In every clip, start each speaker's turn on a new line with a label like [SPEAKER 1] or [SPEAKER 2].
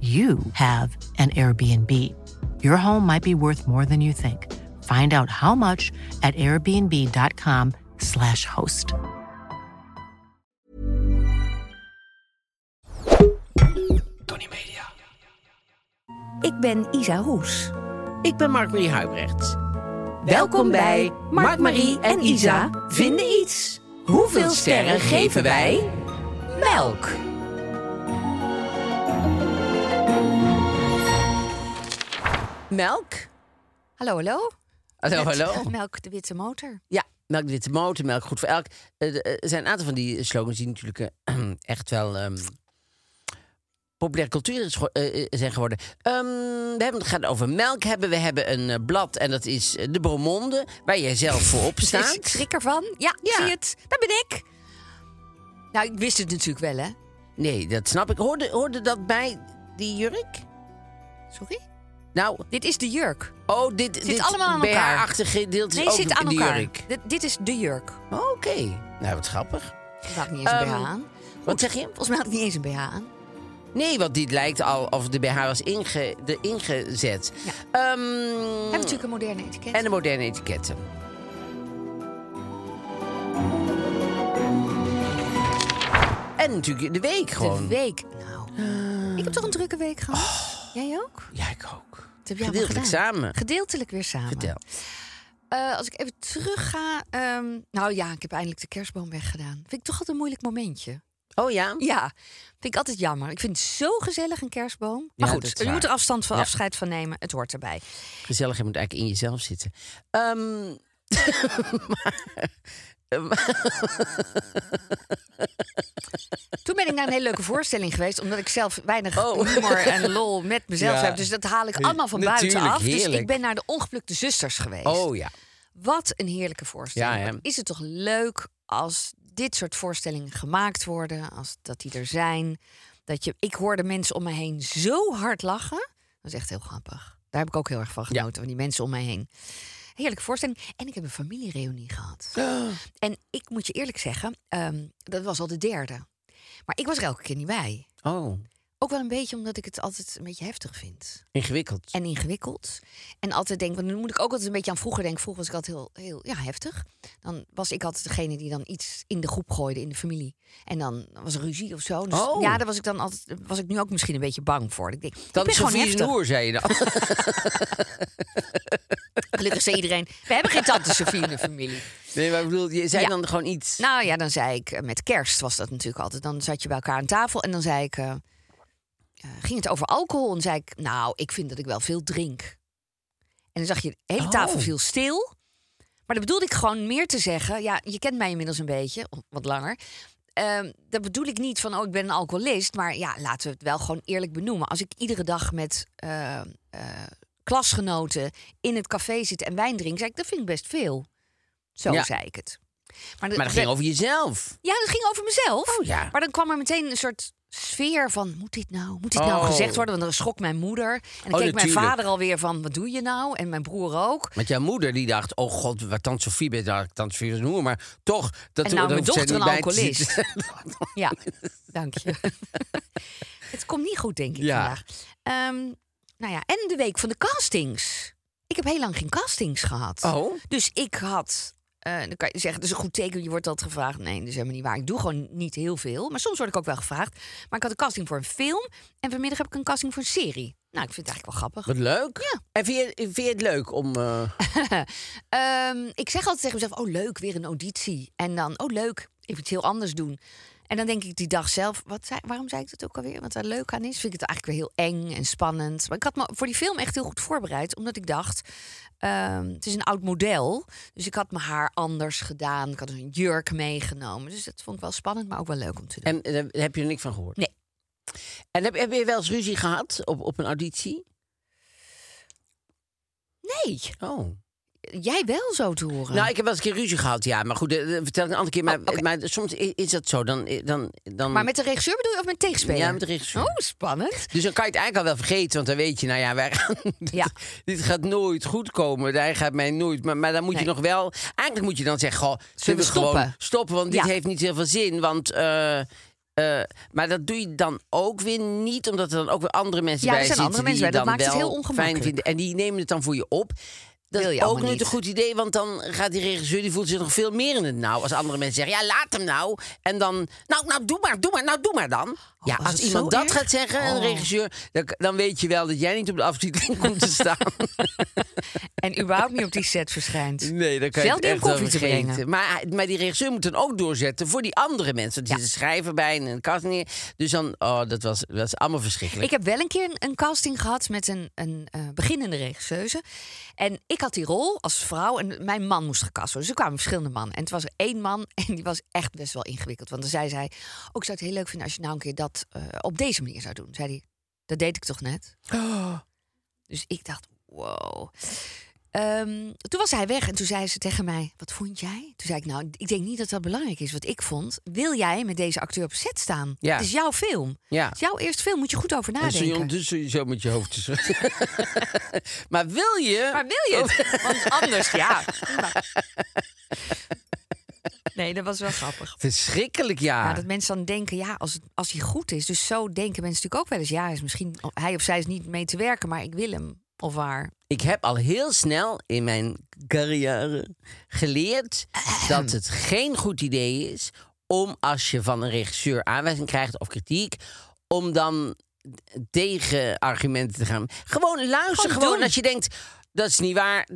[SPEAKER 1] you have an Airbnb. Your home might be worth more than you think. Find out how much at airbnb.com/slash host.
[SPEAKER 2] Tony Media.
[SPEAKER 3] Ik ben Isa Roes.
[SPEAKER 4] Ik ben Mark-Marie Huibrecht.
[SPEAKER 3] Welkom bij Mark-Marie en Isa vinden iets. Hoeveel sterren geven wij? Melk.
[SPEAKER 4] Melk?
[SPEAKER 3] Hallo, hallo.
[SPEAKER 4] Hallo,
[SPEAKER 3] Met
[SPEAKER 4] hallo.
[SPEAKER 3] Melk de witte motor.
[SPEAKER 4] Ja, melk de witte motor, melk goed voor elk. Eh, de- eh, Er zijn een aantal van die slogans die natuurlijk eh, echt wel ehm populaire cultuur is gewo- eh, eh, zijn geworden. Ehm, we hebben het gaat over melk hebben. We hebben een eh, blad en dat is eh, de Beaumonde, waar jij zelf voor op
[SPEAKER 3] Dus ik
[SPEAKER 4] staat.
[SPEAKER 3] schrik ervan. Ja,
[SPEAKER 4] Ja.
[SPEAKER 3] zie je het? Daar ben ik. Nou, ik wist het natuurlijk wel, hè?
[SPEAKER 4] Nee, dat snap ik. Hoorde, hoorde dat bij die jurk?
[SPEAKER 3] Sorry?
[SPEAKER 4] Nou,
[SPEAKER 3] Dit is de jurk.
[SPEAKER 4] oh, dit, dit
[SPEAKER 3] allemaal aan elkaar.
[SPEAKER 4] BH-achtige gedeelte
[SPEAKER 3] Nee,
[SPEAKER 4] is ook
[SPEAKER 3] zit aan
[SPEAKER 4] de
[SPEAKER 3] elkaar.
[SPEAKER 4] jurk.
[SPEAKER 3] Dit- dit is de jurk.
[SPEAKER 4] Oh, Oké, nou wat grappig.
[SPEAKER 3] Ik had niet eens een
[SPEAKER 4] Ehm,
[SPEAKER 3] BH aan.
[SPEAKER 4] Wat zeg je?
[SPEAKER 3] Volgens mij had ik niet eens een BH aan.
[SPEAKER 4] Nee, want dit lijkt al of de BH was inge, de ingezet.
[SPEAKER 3] Ja.
[SPEAKER 4] Ehm,
[SPEAKER 3] We hebben natuurlijk een moderne etiket.
[SPEAKER 4] en de moderne etiketten. En natuurlijk de week gewoon.
[SPEAKER 3] de week. Nou, ik heb toch een drukke week gehad.
[SPEAKER 4] Oh.
[SPEAKER 3] Jij ook? Wat
[SPEAKER 4] Ja, ik ook.
[SPEAKER 3] heb jij allemaal
[SPEAKER 4] Gedeeltelijk
[SPEAKER 3] gedaan?
[SPEAKER 4] samen.
[SPEAKER 3] Gedeeltelijk weer samen.
[SPEAKER 4] Vertel.
[SPEAKER 3] Eh, als ik even terug ga. ehm, nou ja, ik heb eindelijk de kerstboom weggedaan. Vind ik toch altijd een moeilijk momentje.
[SPEAKER 4] Oh ja?
[SPEAKER 3] Ja, vind ik altijd jammer. Ik vind het zo gezellig een kerstboom. Maar
[SPEAKER 4] Ja, dat is
[SPEAKER 3] goed, je
[SPEAKER 4] waar.
[SPEAKER 3] moet er afstand van
[SPEAKER 4] Ja.
[SPEAKER 3] afscheid van nemen. Het hoort erbij.
[SPEAKER 4] Gezellig, je moet eigenlijk in jezelf zitten. Ehm,
[SPEAKER 3] Toen ben ik naar een hele leuke voorstelling geweest, omdat ik zelf weinig
[SPEAKER 4] Oh.
[SPEAKER 3] humor en lol met mezelf
[SPEAKER 4] Ja.
[SPEAKER 3] heb. Dus dat haal ik allemaal van
[SPEAKER 4] Natuurlijk,
[SPEAKER 3] buiten af. Dus
[SPEAKER 4] heerlijk.
[SPEAKER 3] ik ben naar de ongeplukte zusters geweest.
[SPEAKER 4] oh ja.
[SPEAKER 3] Wat een heerlijke voorstelling.
[SPEAKER 4] Ja, hè?
[SPEAKER 3] Wat Is het toch leuk als dit soort voorstellingen gemaakt worden, als dat die er zijn. Dat je, ik hoorde mensen om me heen zo hard lachen. Dat is echt heel grappig. Daar heb ik ook heel erg van
[SPEAKER 4] Ja.
[SPEAKER 3] genoten, van die mensen om mij heen. Heerlijke voorstelling. En ik heb een familiereunie gehad. En ik moet je eerlijk zeggen, ehm, dat was al de derde. Maar ik was er elke keer niet bij.
[SPEAKER 4] Oh,
[SPEAKER 3] Ook wel een beetje omdat ik het altijd een beetje heftig vind
[SPEAKER 4] ingewikkeld.
[SPEAKER 3] en ingewikkeld. En altijd denk, want dan moet ik ook altijd een beetje aan vroeger denken. Vroeger was ik altijd heel, heel ja, heftig. Dan was ik altijd degene die dan iets in de groep gooide in de familie. En dan was er ruzie of zo. Dus
[SPEAKER 4] Oh.
[SPEAKER 3] ja, daar was ik dan altijd, was ik nu ook misschien een beetje bang voor. Ik denk, ik
[SPEAKER 4] Dan
[SPEAKER 3] ben gewoon
[SPEAKER 4] Sofie
[SPEAKER 3] heftig.
[SPEAKER 4] Noer, zei je dan.
[SPEAKER 3] Gelukkig zei iedereen, we hebben geen tante Sofie in de familie.
[SPEAKER 4] Nee, maar ik bedoel, je zei
[SPEAKER 3] Ja.
[SPEAKER 4] dan gewoon iets.
[SPEAKER 3] Nou ja, dan zei ik, eh, met kerst was dat natuurlijk altijd. Dan zat je bij elkaar aan tafel en dan zei ik, eh, eh, ging het over alcohol? En dan zei ik, nou, ik vind dat ik wel veel drink. En dan zag je, de hele
[SPEAKER 4] Oh.
[SPEAKER 3] tafel viel stil. Maar dat bedoelde ik gewoon meer te zeggen. Ja, je kent mij inmiddels een beetje, of wat langer. Ehm, dat bedoel ik niet van, oh, ik ben een alcoholist. Maar ja, laten we het wel gewoon eerlijk benoemen. Als ik iedere dag met eh, eh, klasgenoten in het café zit en wijn drink... zei ik, dat vind ik best veel. Zo
[SPEAKER 4] Ja.
[SPEAKER 3] zei ik het.
[SPEAKER 4] maar dat ging over jezelf.
[SPEAKER 3] Ja, dat ging over mezelf.
[SPEAKER 4] Oh, ja.
[SPEAKER 3] Maar dan kwam er meteen een soort sfeer van... moet dit nou, moet dit nou
[SPEAKER 4] Oh.
[SPEAKER 3] gezegd worden? Want dan schrok mijn moeder. En dan
[SPEAKER 4] Oh,
[SPEAKER 3] keek mijn
[SPEAKER 4] natuurlijk.
[SPEAKER 3] vader alweer van, wat doe je nou? En mijn broer ook.
[SPEAKER 4] Want jouw moeder die dacht, oh god, wat tante Sofie bent, nou, tante Sofie is een hoer. Maar toch, dat
[SPEAKER 3] En nou,
[SPEAKER 4] dat
[SPEAKER 3] mijn
[SPEAKER 4] hoeft zij
[SPEAKER 3] dochter
[SPEAKER 4] niet
[SPEAKER 3] een
[SPEAKER 4] bij te
[SPEAKER 3] alcoholist.
[SPEAKER 4] zitten.
[SPEAKER 3] Ja, dank je. het komt niet goed, denk ik,
[SPEAKER 4] Ja.
[SPEAKER 3] vandaag. Ehm, nou ja, en de week van de castings. Ik heb heel lang geen castings gehad.
[SPEAKER 4] Oh.
[SPEAKER 3] Dus ik had eh, Eh, dan kan je zeggen, dat is een goed teken, je wordt altijd gevraagd. Nee, dat is helemaal niet waar. Ik doe gewoon niet heel veel. Maar soms word ik ook wel gevraagd. Maar ik had een casting voor een film. En vanmiddag heb ik een casting voor een serie. Nou, ik vind het eigenlijk wel grappig.
[SPEAKER 4] Wat leuk. En vind je, vind je het leuk om... eh,
[SPEAKER 3] Ehm, ik zeg altijd tegen mezelf, oh leuk, weer een auditie. En dan, oh leuk, even iets heel anders doen. En dan denk ik die dag zelf, wat zei, waarom zei ik dat ook alweer? Wat daar leuk aan is, vind ik het eigenlijk weer heel eng en spannend. Maar ik had me voor die film echt heel goed voorbereid. Omdat ik dacht, ehm, het is een oud model. Dus ik had mijn haar anders gedaan. Ik had een jurk meegenomen. Dus dat vond ik wel spannend, maar ook wel leuk om te doen.
[SPEAKER 4] en eh, daar heb je er niks van gehoord?
[SPEAKER 3] Nee.
[SPEAKER 4] En heb, heb je wel eens ruzie gehad op, op een auditie?
[SPEAKER 3] Nee,
[SPEAKER 4] Oh.
[SPEAKER 3] jij wel zo te horen.
[SPEAKER 4] Nou, ik heb wel eens een keer ruzie gehad, ja. Maar goed, eh, dat vertel ik een andere keer. Maar,
[SPEAKER 3] Oh, oké.
[SPEAKER 4] maar soms i- is dat zo. Dan, eh, dan, dan,
[SPEAKER 3] maar met de regisseur bedoel je of met tegenspeler?
[SPEAKER 4] Ja, met de regisseur.
[SPEAKER 3] Oh, spannend.
[SPEAKER 4] Dus dan kan je het eigenlijk al wel vergeten. Want dan weet je, nou ja, wij gaan,
[SPEAKER 3] Ja.
[SPEAKER 4] dit, dit gaat nooit goed komen. Daar gaat mij nooit... Maar, maar dan moet je
[SPEAKER 3] Nee.
[SPEAKER 4] nog wel... Eigenlijk moet je dan zeggen, goh, zullen we
[SPEAKER 3] we
[SPEAKER 4] gewoon
[SPEAKER 3] stoppen?
[SPEAKER 4] stoppen? Want dit
[SPEAKER 3] Ja.
[SPEAKER 4] heeft niet heel veel zin. Want... eh, eh, maar dat doe je dan ook weer niet, omdat er dan ook weer andere mensen
[SPEAKER 3] Ja, er
[SPEAKER 4] bij
[SPEAKER 3] zijn
[SPEAKER 4] zitten
[SPEAKER 3] andere
[SPEAKER 4] die
[SPEAKER 3] mensen bij.
[SPEAKER 4] je
[SPEAKER 3] Dat
[SPEAKER 4] dan
[SPEAKER 3] maakt het
[SPEAKER 4] wel
[SPEAKER 3] heel
[SPEAKER 4] fijn
[SPEAKER 3] ongemakkelijk.
[SPEAKER 4] vinden. En die nemen het dan voor je op. Dat
[SPEAKER 3] Wil
[SPEAKER 4] is
[SPEAKER 3] je
[SPEAKER 4] ook
[SPEAKER 3] allemaal
[SPEAKER 4] nooit
[SPEAKER 3] niet.
[SPEAKER 4] een goed idee, want dan gaat die regisseur, die voelt zich nog veel meer in het nauw. Als andere mensen zeggen, ja, laat hem nou. En dan, nou, nou, doe maar, doe maar, nou, doe maar dan. ja,
[SPEAKER 3] was
[SPEAKER 4] als
[SPEAKER 3] het
[SPEAKER 4] iemand
[SPEAKER 3] zo
[SPEAKER 4] dat
[SPEAKER 3] erg?
[SPEAKER 4] gaat zeggen, een
[SPEAKER 3] Oh.
[SPEAKER 4] regisseur, dan, dan weet je wel dat jij niet op de afziedeling komt te staan.
[SPEAKER 3] En überhaupt niet op die set verschijnt.
[SPEAKER 4] Nee, dan kan je
[SPEAKER 3] Zelf
[SPEAKER 4] het
[SPEAKER 3] die
[SPEAKER 4] echt
[SPEAKER 3] om
[SPEAKER 4] wel
[SPEAKER 3] koffie te
[SPEAKER 4] vergeten.
[SPEAKER 3] brengen.
[SPEAKER 4] Maar, maar die regisseur moet dan ook doorzetten voor die andere mensen. Want die zitten schrijven bij en een kast neer. Dus dan, oh, dat was, dat was allemaal verschrikkelijk.
[SPEAKER 3] Ik heb wel een keer een, een casting gehad met een, een eh, beginnende regisseuse. En ik had die rol als vrouw en mijn man moest gecast worden. Dus er kwamen verschillende mannen. En het was er één man en die was echt best wel ingewikkeld. Want dan zei zij, oh, ik zou het heel leuk vinden als je nou een keer dat eh, op deze manier zou doen. Zei hij, dat deed ik toch net? Dus ik dacht, wow. Ehm, toen was hij weg en toen zei ze tegen mij, wat vond jij? Toen zei ik, nou, ik denk niet dat dat belangrijk is wat ik vond. Wil jij met deze acteur op set staan?
[SPEAKER 4] Ja.
[SPEAKER 3] Het is jouw film.
[SPEAKER 4] Ja.
[SPEAKER 3] Het is jouw eerste film, moet je goed over
[SPEAKER 4] En zo,
[SPEAKER 3] nadenken.
[SPEAKER 4] dus zo met je hoofd te schudden. maar wil je...
[SPEAKER 3] Maar wil je het? Want anders, ja. prima. Nee, dat was wel grappig.
[SPEAKER 4] Verschrikkelijk, ja.
[SPEAKER 3] Ja, dat mensen dan denken, ja, als, het- als hij goed is. Dus zo denken mensen natuurlijk ook wel eens. Ja, is misschien, hij of zij is niet mee te werken, maar ik wil hem. Of waar.
[SPEAKER 4] Ik heb al heel snel in mijn carrière geleerd dat het geen goed idee is om als je van een regisseur aanwijzing krijgt of kritiek, om dan tegen argumenten te gaan. Gewoon luister
[SPEAKER 3] Gewoon
[SPEAKER 4] gewoon,
[SPEAKER 3] doen.
[SPEAKER 4] als je denkt. Dat is niet waar.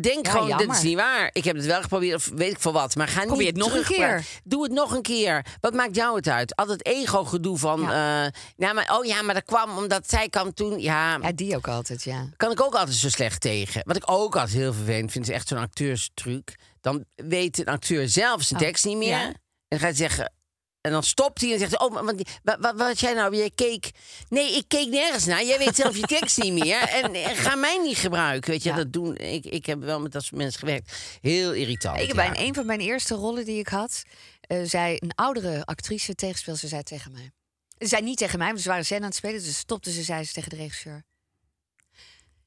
[SPEAKER 4] Denk
[SPEAKER 3] Ja,
[SPEAKER 4] gewoon, dit is
[SPEAKER 3] jammer.
[SPEAKER 4] niet waar. Ik heb het wel geprobeerd, of weet ik van wat. Maar ga
[SPEAKER 3] Probeer
[SPEAKER 4] niet
[SPEAKER 3] het nog een
[SPEAKER 4] terugpraten.
[SPEAKER 3] keer.
[SPEAKER 4] Doe het nog een keer. Wat maakt jou het uit? Altijd ego-gedoe van... eh, nou, maar, oh ja, maar dat kwam omdat zij kwam toen. Ja,
[SPEAKER 3] Ja, die ook altijd, ja.
[SPEAKER 4] kan ik ook altijd zo slecht tegen. Wat ik ook altijd heel vervelend vind, is echt zo'n acteurstruc. Dan weet een acteur zelf zijn
[SPEAKER 3] Oh,
[SPEAKER 4] tekst niet meer.
[SPEAKER 3] ja.
[SPEAKER 4] En dan gaat hij zeggen. En dan stopt hij en zegt: hij, Oh, maar want, wat, wat, was jij nou? Jij keek. Nee, ik keek nergens naar. Jij weet zelf je tekst niet meer. En, en ga mij niet gebruiken. Weet je,
[SPEAKER 3] Ja.
[SPEAKER 4] dat doen. Ik, ik heb wel met dat soort mensen gewerkt. Heel irritant.
[SPEAKER 3] Ik heb
[SPEAKER 4] ja.
[SPEAKER 3] bij een van mijn eerste rollen die ik had, eh, zei een oudere actrice tegenspeelster zei tegen mij. Ze zei niet tegen mij, want ze waren scène aan het spelen. Dus stopte ze, zei ze tegen de regisseur.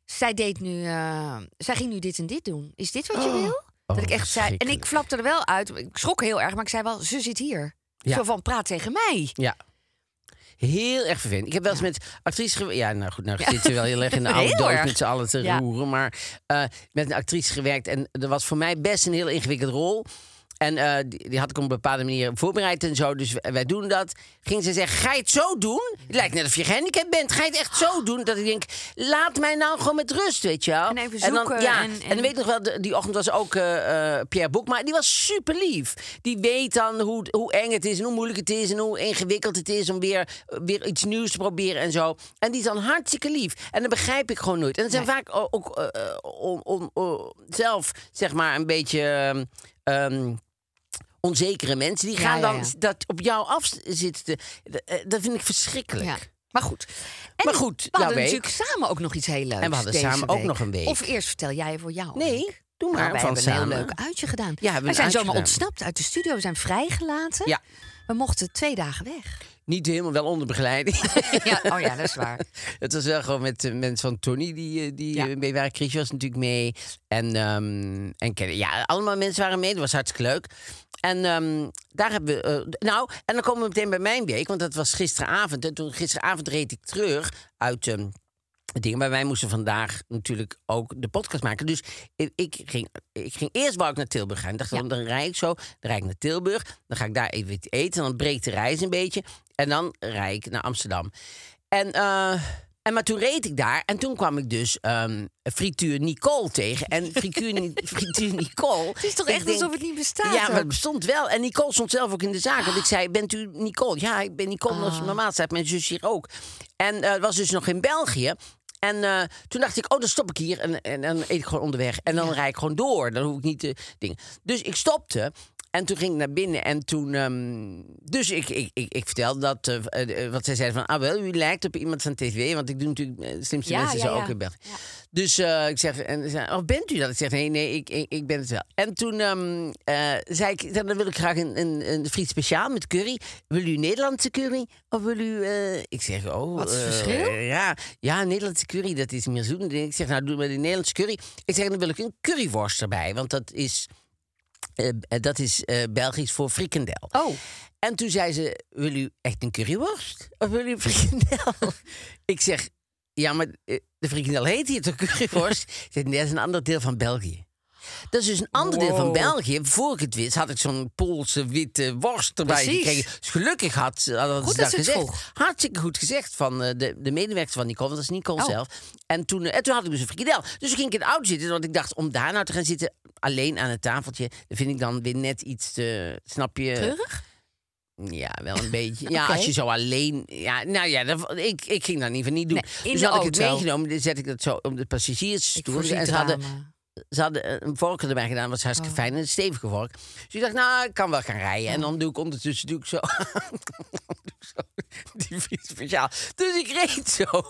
[SPEAKER 3] Zij deed nu, eh, zij ging nu dit en dit doen. Is dit wat je wil? Dat ik echt zei. En ik
[SPEAKER 4] Oh. verschrikkelijk.
[SPEAKER 3] flapte er wel uit. Ik schrok heel erg, maar ik zei wel, ze zit hier.
[SPEAKER 4] Ja.
[SPEAKER 3] Zo van praat tegen mij.
[SPEAKER 4] Ja. Heel erg vervelend. Ik heb wel eens met actrice gewerkt. Ja, nou goed, nou
[SPEAKER 3] Ja.
[SPEAKER 4] zitten we wel heel erg in de oude
[SPEAKER 3] Heel
[SPEAKER 4] doos
[SPEAKER 3] erg.
[SPEAKER 4] met z'n allen te
[SPEAKER 3] Ja.
[SPEAKER 4] roeren. Maar eh, met een actrice gewerkt. En dat was voor mij best een heel ingewikkelde rol. En eh, die, die had ik op een bepaalde manier voorbereid en zo. Dus w- wij doen dat. Ging ze zeggen, ga je het zo doen? Het lijkt net of je gehandicapt bent. Ga je het echt zo doen? Dat ik denk, laat mij nou gewoon met rust, weet je wel.
[SPEAKER 3] En even
[SPEAKER 4] dan,
[SPEAKER 3] zoeken
[SPEAKER 4] ja,
[SPEAKER 3] en-
[SPEAKER 4] Oh, en dan
[SPEAKER 3] en-
[SPEAKER 4] weet ik nog wel, de- die ochtend was ook eh, eh, Pierre Boekma. Die was super lief. Die weet dan hoe, hoe eng het is en hoe moeilijk het is en hoe ingewikkeld het is om weer, weer iets nieuws te proberen en zo. En die is dan hartstikke lief. En dat begrijp ik gewoon nooit. En dat zijn vaak o- ook eh, eh, on- on- on- zelf, zeg maar, een beetje. ehm, ehm, Onzekere mensen die
[SPEAKER 3] Ja,
[SPEAKER 4] gaan
[SPEAKER 3] ja,
[SPEAKER 4] dan
[SPEAKER 3] ja.
[SPEAKER 4] dat op jou af zitten. te- Dat, eh, dat vind ik verschrikkelijk.
[SPEAKER 3] Ja. Maar goed. En
[SPEAKER 4] Maar goed,
[SPEAKER 3] we
[SPEAKER 4] jouw
[SPEAKER 3] hadden
[SPEAKER 4] week.
[SPEAKER 3] natuurlijk samen ook nog iets heel leuks.
[SPEAKER 4] En we hadden
[SPEAKER 3] deze
[SPEAKER 4] samen ook
[SPEAKER 3] week.
[SPEAKER 4] nog een week.
[SPEAKER 3] Of eerst vertel jij voor jou.
[SPEAKER 4] Nee,
[SPEAKER 3] week.
[SPEAKER 4] doe maar
[SPEAKER 3] Nou, wij
[SPEAKER 4] van
[SPEAKER 3] hebben een
[SPEAKER 4] samen.
[SPEAKER 3] heel leuk uitje gedaan.
[SPEAKER 4] we hebben
[SPEAKER 3] we
[SPEAKER 4] een
[SPEAKER 3] zijn
[SPEAKER 4] uitje
[SPEAKER 3] zomaar
[SPEAKER 4] gedaan.
[SPEAKER 3] ontsnapt uit de studio. We zijn vrijgelaten.
[SPEAKER 4] Ja.
[SPEAKER 3] We mochten twee dagen weg.
[SPEAKER 4] Niet helemaal wel onder begeleiding.
[SPEAKER 3] ja, oh ja, dat is waar.
[SPEAKER 4] Het was wel gewoon met eh, mensen van Tony die, eh, die
[SPEAKER 3] Ja.
[SPEAKER 4] eh, mee waren. Chris was natuurlijk mee. En, ehm en Kelly. Ja, allemaal mensen waren mee. Dat was hartstikke leuk. En ehm, daar hebben we. eh, d- nou, en dan komen we meteen bij mijn week. Want dat was gisteravond. En toen gisteravond reed ik terug uit. ehm, dingen. Maar wij moesten vandaag natuurlijk ook de podcast maken. Dus ik, ik ging, ik ging eerst wou ik naar Tilburg gaan. Ik dacht, dan, dan rijd ik zo, dan rijd ik naar Tilburg. Dan ga ik daar even iets eten. En dan breekt de reis een beetje. En dan rijd ik naar Amsterdam. En, eh, en maar toen reed ik daar. En toen kwam ik dus ehm, frituur Nicole tegen. En frituur, Ni- frituur Nicole...
[SPEAKER 3] Het is toch
[SPEAKER 4] ik
[SPEAKER 3] echt
[SPEAKER 4] denk-
[SPEAKER 3] alsof het niet bestaat?
[SPEAKER 4] ja, maar het
[SPEAKER 3] ook?
[SPEAKER 4] bestond wel. En Nicole stond zelf ook in de zaak. Want ik zei, bent u Nicole? Ja, ik ben
[SPEAKER 3] Ah.
[SPEAKER 4] Nicole. Dat is mijn maat, staat mijn zus hier ook. En eh, het was dus nog in België. En eh, toen dacht ik, oh, dan stop ik hier. En, en, dan eet ik gewoon onderweg. En dan rijd ik gewoon door. Dan hoef ik niet te dingen. Dus ik stopte. En toen ging ik naar binnen en toen... ehm, dus ik, ik, ik, ik vertelde dat, eh, eh, wat zij zeiden van... Ah, wel, u lijkt op iemand van tv. Want ik doe natuurlijk eh, slimste
[SPEAKER 3] Ja,
[SPEAKER 4] mensen
[SPEAKER 3] ja,
[SPEAKER 4] zo
[SPEAKER 3] ja.
[SPEAKER 4] ook in België. Dus eh, ik zeg, en, ze zei, oh, bent u dat? Ik zeg, nee, nee, ik, ik, ik ben het wel. En toen ehm, eh, zei ik, "Nou, dan wil ik graag een, een, een friet speciaal met curry. Wil u Nederlandse curry? Of wil u... eh, Ik zeg, oh...
[SPEAKER 3] Wat is het
[SPEAKER 4] eh,
[SPEAKER 3] verschil?
[SPEAKER 4] ja, ja, Nederlandse curry, dat is meer zoet. Ik zeg, nou, doe maar de Nederlandse curry. Ik zeg, dan wil ik een curryworst erbij. Want dat is, eh, dat is eh, Belgisch voor frikandel.
[SPEAKER 3] Oh,
[SPEAKER 4] En toen zei ze: Wil u echt een curryworst? Of wil u een frikandel? ik zeg: Ja, maar eh, de frikandel heet hier toch curryworst? Ze zei: Nee, dat is een ander deel van België. Dat is dus een ander deel van
[SPEAKER 3] Wow.
[SPEAKER 4] België. Voor ik het wist, had ik zo'n Poolse witte worst erbij
[SPEAKER 3] Precies.
[SPEAKER 4] gekregen. Dus gelukkig had ze hadden
[SPEAKER 3] Goed
[SPEAKER 4] ze
[SPEAKER 3] dat
[SPEAKER 4] dat
[SPEAKER 3] ze het
[SPEAKER 4] gezegd.
[SPEAKER 3] vroeg.
[SPEAKER 4] Hartstikke goed gezegd van eh, de, de medewerker van Nicole. Want dat is Nicole
[SPEAKER 3] Oh.
[SPEAKER 4] zelf. En toen, eh, en toen had ik dus een frikandel. Dus toen ging ik in de auto zitten. Want ik dacht, om daar nou te gaan zitten, alleen aan het tafeltje... dat vind ik dan weer net iets te... Snap je?
[SPEAKER 3] keurig?
[SPEAKER 4] Ja, wel een beetje. Ja,
[SPEAKER 3] Oké.
[SPEAKER 4] als je zo alleen... Ja, nou ja, dat, ik, ik ging dat in ieder geval niet doen.
[SPEAKER 3] Nee, in
[SPEAKER 4] dus
[SPEAKER 3] de
[SPEAKER 4] had ik het
[SPEAKER 3] auto.
[SPEAKER 4] meegenomen, dan zet ik dat zo op de
[SPEAKER 3] Ik
[SPEAKER 4] passagiersstoel.
[SPEAKER 3] voorzie
[SPEAKER 4] En
[SPEAKER 3] het
[SPEAKER 4] ze hadden,
[SPEAKER 3] ramen.
[SPEAKER 4] ze hadden een vork erbij gedaan, dat was
[SPEAKER 3] Oh.
[SPEAKER 4] hartstikke fijn. Een stevige vork. Dus ik dacht, nou, ik kan wel gaan rijden. En dan doe ik ondertussen doe ik zo... doe ik zo die fiets speciaal. Dus ik reed zo.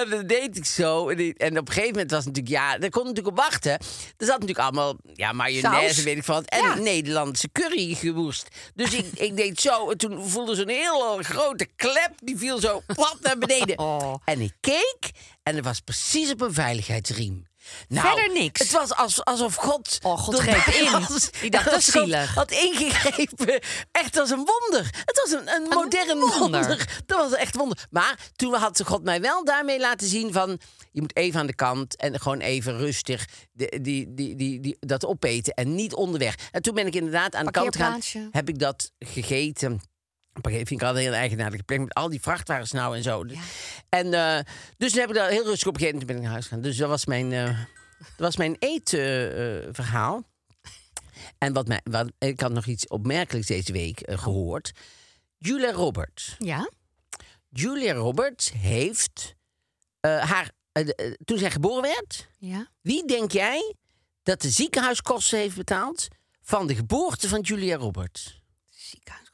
[SPEAKER 4] en dat deed ik zo. En, ik- en op een gegeven moment was het natuurlijk... Ja, daar kon ik natuurlijk op wachten. Er zat natuurlijk allemaal ja, mayonaise,
[SPEAKER 3] Saus.
[SPEAKER 4] weet ik van. En
[SPEAKER 3] Ja.
[SPEAKER 4] Nederlandse curry gewoest. Dus ik, ik deed zo. En toen voelde ze een hele grote klep. Die viel zo plat naar beneden.
[SPEAKER 3] Oh.
[SPEAKER 4] En ik keek. En er was precies op een veiligheidsriem. Nou,
[SPEAKER 3] Verder niks.
[SPEAKER 4] Het was als, alsof God...
[SPEAKER 3] Oh, God
[SPEAKER 4] door
[SPEAKER 3] greep
[SPEAKER 4] mij
[SPEAKER 3] in.
[SPEAKER 4] was-
[SPEAKER 3] Die dacht, dat is
[SPEAKER 4] alsof God
[SPEAKER 3] zielig.
[SPEAKER 4] Had ingegrepen. Echt als een wonder. Het was een, een, modern
[SPEAKER 3] wonder.
[SPEAKER 4] wonder. Dat was echt wonder. Maar toen had God mij wel daarmee laten zien van... je moet even aan de kant en gewoon even rustig de, die, die, die, die, dat opeten. En niet onderweg. En toen ben ik inderdaad aan de kant gegaan.
[SPEAKER 3] Parkeerplaatsje.
[SPEAKER 4] Heb ik dat gegeten. Op een gegeven moment vind ik altijd een heel eigenaardige plek met al die vrachtwagens nou en zo. En eh, dus toen heb ik daar heel rustig op gegeten en toen ben ik naar huis gegaan. Dus dat was mijn, eh, dat was mijn eetverhaal. en wat mij, wat, ik had nog iets opmerkelijks deze week eh, gehoord. Julia Roberts.
[SPEAKER 3] Ja?
[SPEAKER 4] Julia Roberts heeft eh, haar, eh, de- eh, toen zij geboren werd,
[SPEAKER 3] Ja?
[SPEAKER 4] wie denk jij dat de ziekenhuiskosten heeft betaald van de geboorte van Julia Roberts?
[SPEAKER 3] Ziekenhuis.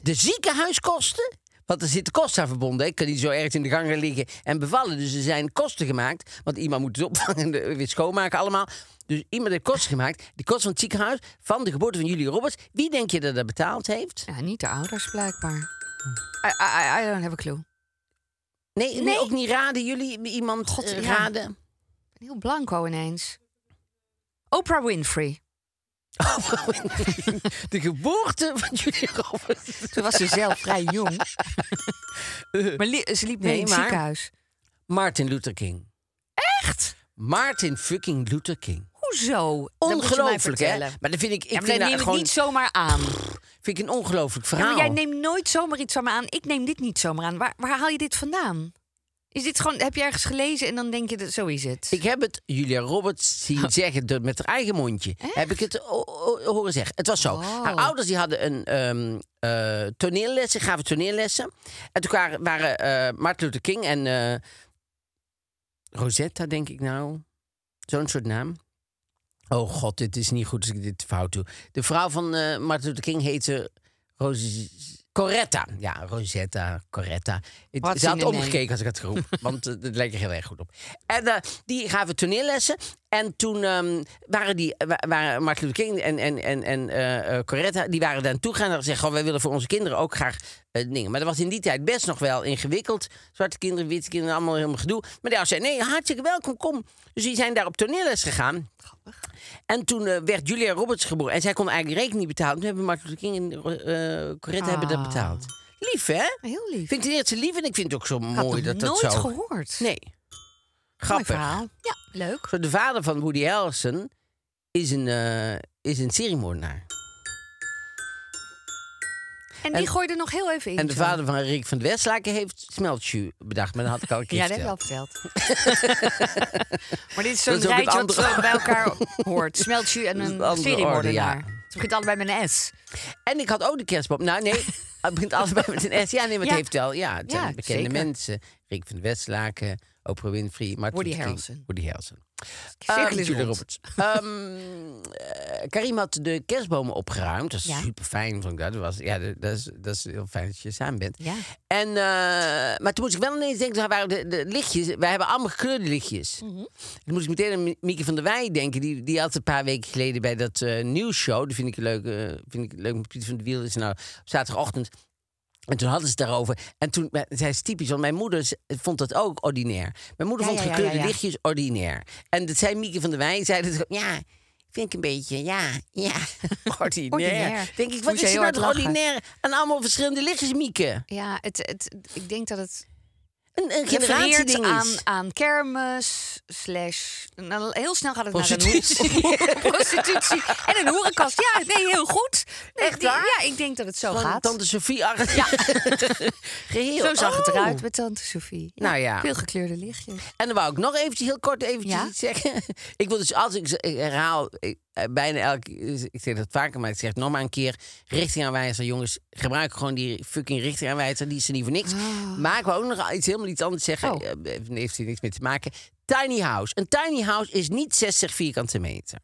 [SPEAKER 4] De ziekenhuiskosten? Want er zitten kosten aan verbonden. hè. Ik kan niet zo ergens in de gang gaan liggen en bevallen. Dus er zijn kosten gemaakt. Want iemand moet het opvangen en weer schoonmaken allemaal. Dus iemand heeft kosten gemaakt. De kosten van het ziekenhuis van de geboorte van Julia Roberts. Wie denk je dat dat betaald heeft?
[SPEAKER 3] Ja, niet de ouders blijkbaar.
[SPEAKER 4] Hm.
[SPEAKER 3] I, I, I- I don't have a clue.
[SPEAKER 4] Nee, nee,
[SPEAKER 3] Nee.
[SPEAKER 4] ook niet raden. Jullie iemand
[SPEAKER 3] God,
[SPEAKER 4] eh,
[SPEAKER 3] ja.
[SPEAKER 4] raden?
[SPEAKER 3] Ik ben heel blanco ineens. Oprah Winfrey.
[SPEAKER 4] Oh, de geboorte van Julia Roberts.
[SPEAKER 3] Toen was ze zelf vrij jong. maar li- ze liep mee
[SPEAKER 4] Eh. Nee,
[SPEAKER 3] in het
[SPEAKER 4] maar-
[SPEAKER 3] ziekenhuis.
[SPEAKER 4] Martin Luther King.
[SPEAKER 3] Echt?
[SPEAKER 4] Martin fucking Luther King.
[SPEAKER 3] Hoezo? Dat moet je mij
[SPEAKER 4] Ongelooflijk, hè?
[SPEAKER 3] vertellen.
[SPEAKER 4] Maar dat vind ik... Ik
[SPEAKER 3] ja, maar
[SPEAKER 4] vind,
[SPEAKER 3] dan neem
[SPEAKER 4] dat
[SPEAKER 3] ik
[SPEAKER 4] gewoon,
[SPEAKER 3] niet zomaar aan.
[SPEAKER 4] vind ik een ongelooflijk
[SPEAKER 3] Ja,
[SPEAKER 4] verhaal.
[SPEAKER 3] maar jij neemt nooit zomaar iets van me aan. Ik neem dit niet zomaar aan. Waar, waar haal je dit vandaan? Is dit gewoon, heb je ergens gelezen en dan denk je, dat, zo is het.
[SPEAKER 4] Ik heb het Julia Roberts zien zeggen door- met haar eigen mondje. Heb ik het o- o- horen zeggen. Het was zo.
[SPEAKER 3] Oh.
[SPEAKER 4] Haar ouders die hadden een ehm, eh, toneellessen, gaven toneellessen. En toen waren, waren eh, Martin Luther King en eh, Rosetta, denk ik nou. Zo'n soort naam. Oh god, dit is niet goed als ik dit fout doe. De vrouw van eh, Martin Luther King heette Ros- Coretta. Ja, Rosetta, Coretta. Het-
[SPEAKER 3] Wat
[SPEAKER 4] Ze
[SPEAKER 3] een
[SPEAKER 4] had
[SPEAKER 3] name.
[SPEAKER 4] omgekeken als ik het geroepen. want eh, het lijkt er heel erg goed op. En eh, die gaven toneellessen. En toen ehm, waren, die, wa- waren Martin Luther King en, en, en, en eh, eh, Coretta... die waren daar naartoe gegaan en zeggen... Gewoon, wij willen voor onze kinderen ook graag eh, dingen. Maar dat was in die tijd best nog wel ingewikkeld. Zwarte kinderen, witte kinderen, allemaal helemaal gedoe. Maar die zei, nee, hartstikke welkom, kom. Dus die zijn daar op toneelles gegaan. En toen eh, werd Julia Roberts geboren. En zij kon eigenlijk rekening niet betalen. Toen hebben Martin Luther King en eh, Coretta hebben dat
[SPEAKER 3] Ah.
[SPEAKER 4] betaald. Lief, hè?
[SPEAKER 3] Heel lief.
[SPEAKER 4] Vind ik ten eerste lief en ik vind het ook zo
[SPEAKER 3] had
[SPEAKER 4] mooi
[SPEAKER 3] nog
[SPEAKER 4] dat dat
[SPEAKER 3] nooit
[SPEAKER 4] zo...
[SPEAKER 3] gehoord.
[SPEAKER 4] Nee. Grappig.
[SPEAKER 3] Mooi verhaal. Ja, leuk.
[SPEAKER 4] Zo, de vader van Woody Harrelson is een, eh is een seriemoordenaar.
[SPEAKER 3] En die
[SPEAKER 4] En-
[SPEAKER 3] gooi je er nog heel even in.
[SPEAKER 4] En de
[SPEAKER 3] zo.
[SPEAKER 4] vader van Rick van de Westlaken heeft smeltshoe bedacht. Maar dat had ik al een keer
[SPEAKER 3] Ja, dat heb je al
[SPEAKER 4] verteld.
[SPEAKER 3] verteld. maar dit is zo'n
[SPEAKER 4] Dat is ook het
[SPEAKER 3] rijtje wat
[SPEAKER 4] andere-
[SPEAKER 3] zo bij elkaar hoort. Smeltje en
[SPEAKER 4] Dat is het
[SPEAKER 3] een
[SPEAKER 4] andere
[SPEAKER 3] seriemoordenaar.
[SPEAKER 4] orde,
[SPEAKER 3] Het begint allebei met een S.
[SPEAKER 4] En ik had ook de kerstboom. Nou, nee, het begint allebei met een S. Ja, nee, maar het
[SPEAKER 3] Ja.
[SPEAKER 4] heeft wel. Ja, het zijn
[SPEAKER 3] Ja,
[SPEAKER 4] bekende
[SPEAKER 3] zeker.
[SPEAKER 4] mensen. Rick van de Westlaken, Oprah Winfrey, Martin
[SPEAKER 3] Woody
[SPEAKER 4] Luther King,
[SPEAKER 3] Harrelson.
[SPEAKER 4] Woody Harrelson.
[SPEAKER 3] Cirkel
[SPEAKER 4] Eh,
[SPEAKER 3] is
[SPEAKER 4] Julia
[SPEAKER 3] rond.
[SPEAKER 4] Roberts. Ehm, eh, Karim had de kerstbomen opgeruimd. Dat is
[SPEAKER 3] Ja.
[SPEAKER 4] super fijn, vond ik dat. Dat was, ja, dat, dat is, dat is heel fijn dat je samen bent.
[SPEAKER 3] Ja.
[SPEAKER 4] En, eh, maar toen moest ik wel ineens denken, daar waren de, de lichtjes, wij hebben allemaal gekleurde lichtjes.
[SPEAKER 3] Mhm.
[SPEAKER 4] Toen moest ik meteen aan Mieke van der Wij denken. Die, die had een paar weken geleden bij dat eh, nieuwsshow. Die vind ik leuk. eh, vind ik leuk met Pieter van de Wiel is nou op zaterdagochtend. En toen hadden ze het daarover. En toen maar, zei ze typisch, want mijn moeder z- vond dat ook ordinair. Mijn moeder
[SPEAKER 3] Ja,
[SPEAKER 4] vond
[SPEAKER 3] ja, ja,
[SPEAKER 4] gekleurde
[SPEAKER 3] ja, ja.
[SPEAKER 4] lichtjes ordinair. En dat zei Mieke van der Wij, zei dat ja, vind ik een beetje, ja, ja, ordinair.
[SPEAKER 3] Ordinair.
[SPEAKER 4] Denk ik, wat
[SPEAKER 3] Moest je
[SPEAKER 4] is er
[SPEAKER 3] heel
[SPEAKER 4] nou
[SPEAKER 3] hard
[SPEAKER 4] toch
[SPEAKER 3] lachen.
[SPEAKER 4] ordinair aan allemaal verschillende lichtjes, Mieke?
[SPEAKER 3] Ja, het, het, ik denk dat het
[SPEAKER 4] Een, een
[SPEAKER 3] refereert
[SPEAKER 4] generatieding
[SPEAKER 3] aan,
[SPEAKER 4] is.
[SPEAKER 3] aan kermis, slash... nou, heel snel gaat het
[SPEAKER 4] Prostitutie.
[SPEAKER 3] naar een hoer- prostitutie en een hoerenkast. Ja, nee, heel goed. Echt
[SPEAKER 4] waar?
[SPEAKER 3] Ja, ik denk dat het zo
[SPEAKER 4] Van
[SPEAKER 3] gaat.
[SPEAKER 4] Tante Sofie achter. Ja. Geheel.
[SPEAKER 3] Zo zag het
[SPEAKER 4] Oh.
[SPEAKER 3] eruit met tante Sophie.
[SPEAKER 4] Nou ja.
[SPEAKER 3] Veel gekleurde lichtjes.
[SPEAKER 4] En dan wou ik nog eventjes heel kort eventjes
[SPEAKER 3] Ja?
[SPEAKER 4] iets zeggen. Ik wil dus als ik, ik herhaal ik, eh, bijna elke ik zeg dat vaker, maar ik zeg het nog maar een keer richtingaanwijzer. Jongens, gebruik gewoon die fucking richtingaanwijzer. Die is er niet voor niks. Maar ik wou ook nog iets helemaal iets anders zeggen.
[SPEAKER 3] Oh.
[SPEAKER 4] Eh, Heeft hier niks mee te maken. Tiny house. Een tiny house is niet 60 vierkante meter.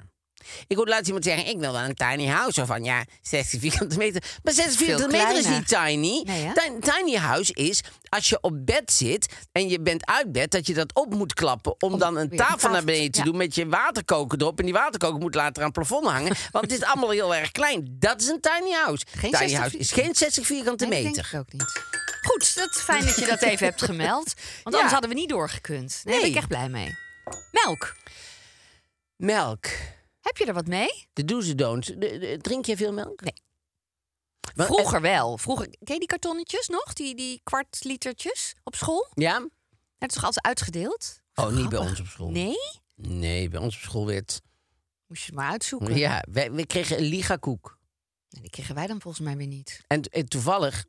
[SPEAKER 4] Ik hoorde laatst iemand zeggen, ik wil wel een tiny house. Of van, ja, 60 vierkante meter. Maar 60 vierkante meter is
[SPEAKER 3] kleiner.
[SPEAKER 4] niet tiny.
[SPEAKER 3] Nee, hè?
[SPEAKER 4] Ti- tiny house is als je op bed zit en je bent uit bed, dat je dat op moet klappen. Om, dan een
[SPEAKER 3] weer een
[SPEAKER 4] tafel, naar
[SPEAKER 3] tafel,
[SPEAKER 4] beneden te
[SPEAKER 3] ja.
[SPEAKER 4] doen met je waterkoker erop. En die waterkoker moet later aan het plafond hangen. want het is allemaal heel erg klein. Dat is een tiny house.
[SPEAKER 3] Geen
[SPEAKER 4] tiny
[SPEAKER 3] 60
[SPEAKER 4] house is geen 60 vierkante
[SPEAKER 3] Nee, dat
[SPEAKER 4] meter.
[SPEAKER 3] denk ik ook niet. Goed, dat is fijn dat je dat even hebt gemeld. Want anders hadden we niet doorgekund. Nee, daar ben
[SPEAKER 4] Nee.
[SPEAKER 3] ik echt blij mee. Melk,
[SPEAKER 4] Melk.
[SPEAKER 3] heb je er wat mee?
[SPEAKER 4] De do's en don'ts. De- de- drink je veel melk?
[SPEAKER 3] Nee.
[SPEAKER 4] Wel-
[SPEAKER 3] Vroeger wel. Vroeger, ken je die kartonnetjes nog? Die, die kwartlitertjes op school?
[SPEAKER 4] Ja?
[SPEAKER 3] Dat is toch altijd uitgedeeld?
[SPEAKER 4] Oh, niet bij ons op school.
[SPEAKER 3] Nee?
[SPEAKER 4] Nee, bij ons op school werd...
[SPEAKER 3] Moest je het maar uitzoeken.
[SPEAKER 4] Ja, wij, wij kregen een ligakoek.
[SPEAKER 3] En die kregen wij dan volgens mij weer niet.
[SPEAKER 4] En, en toevallig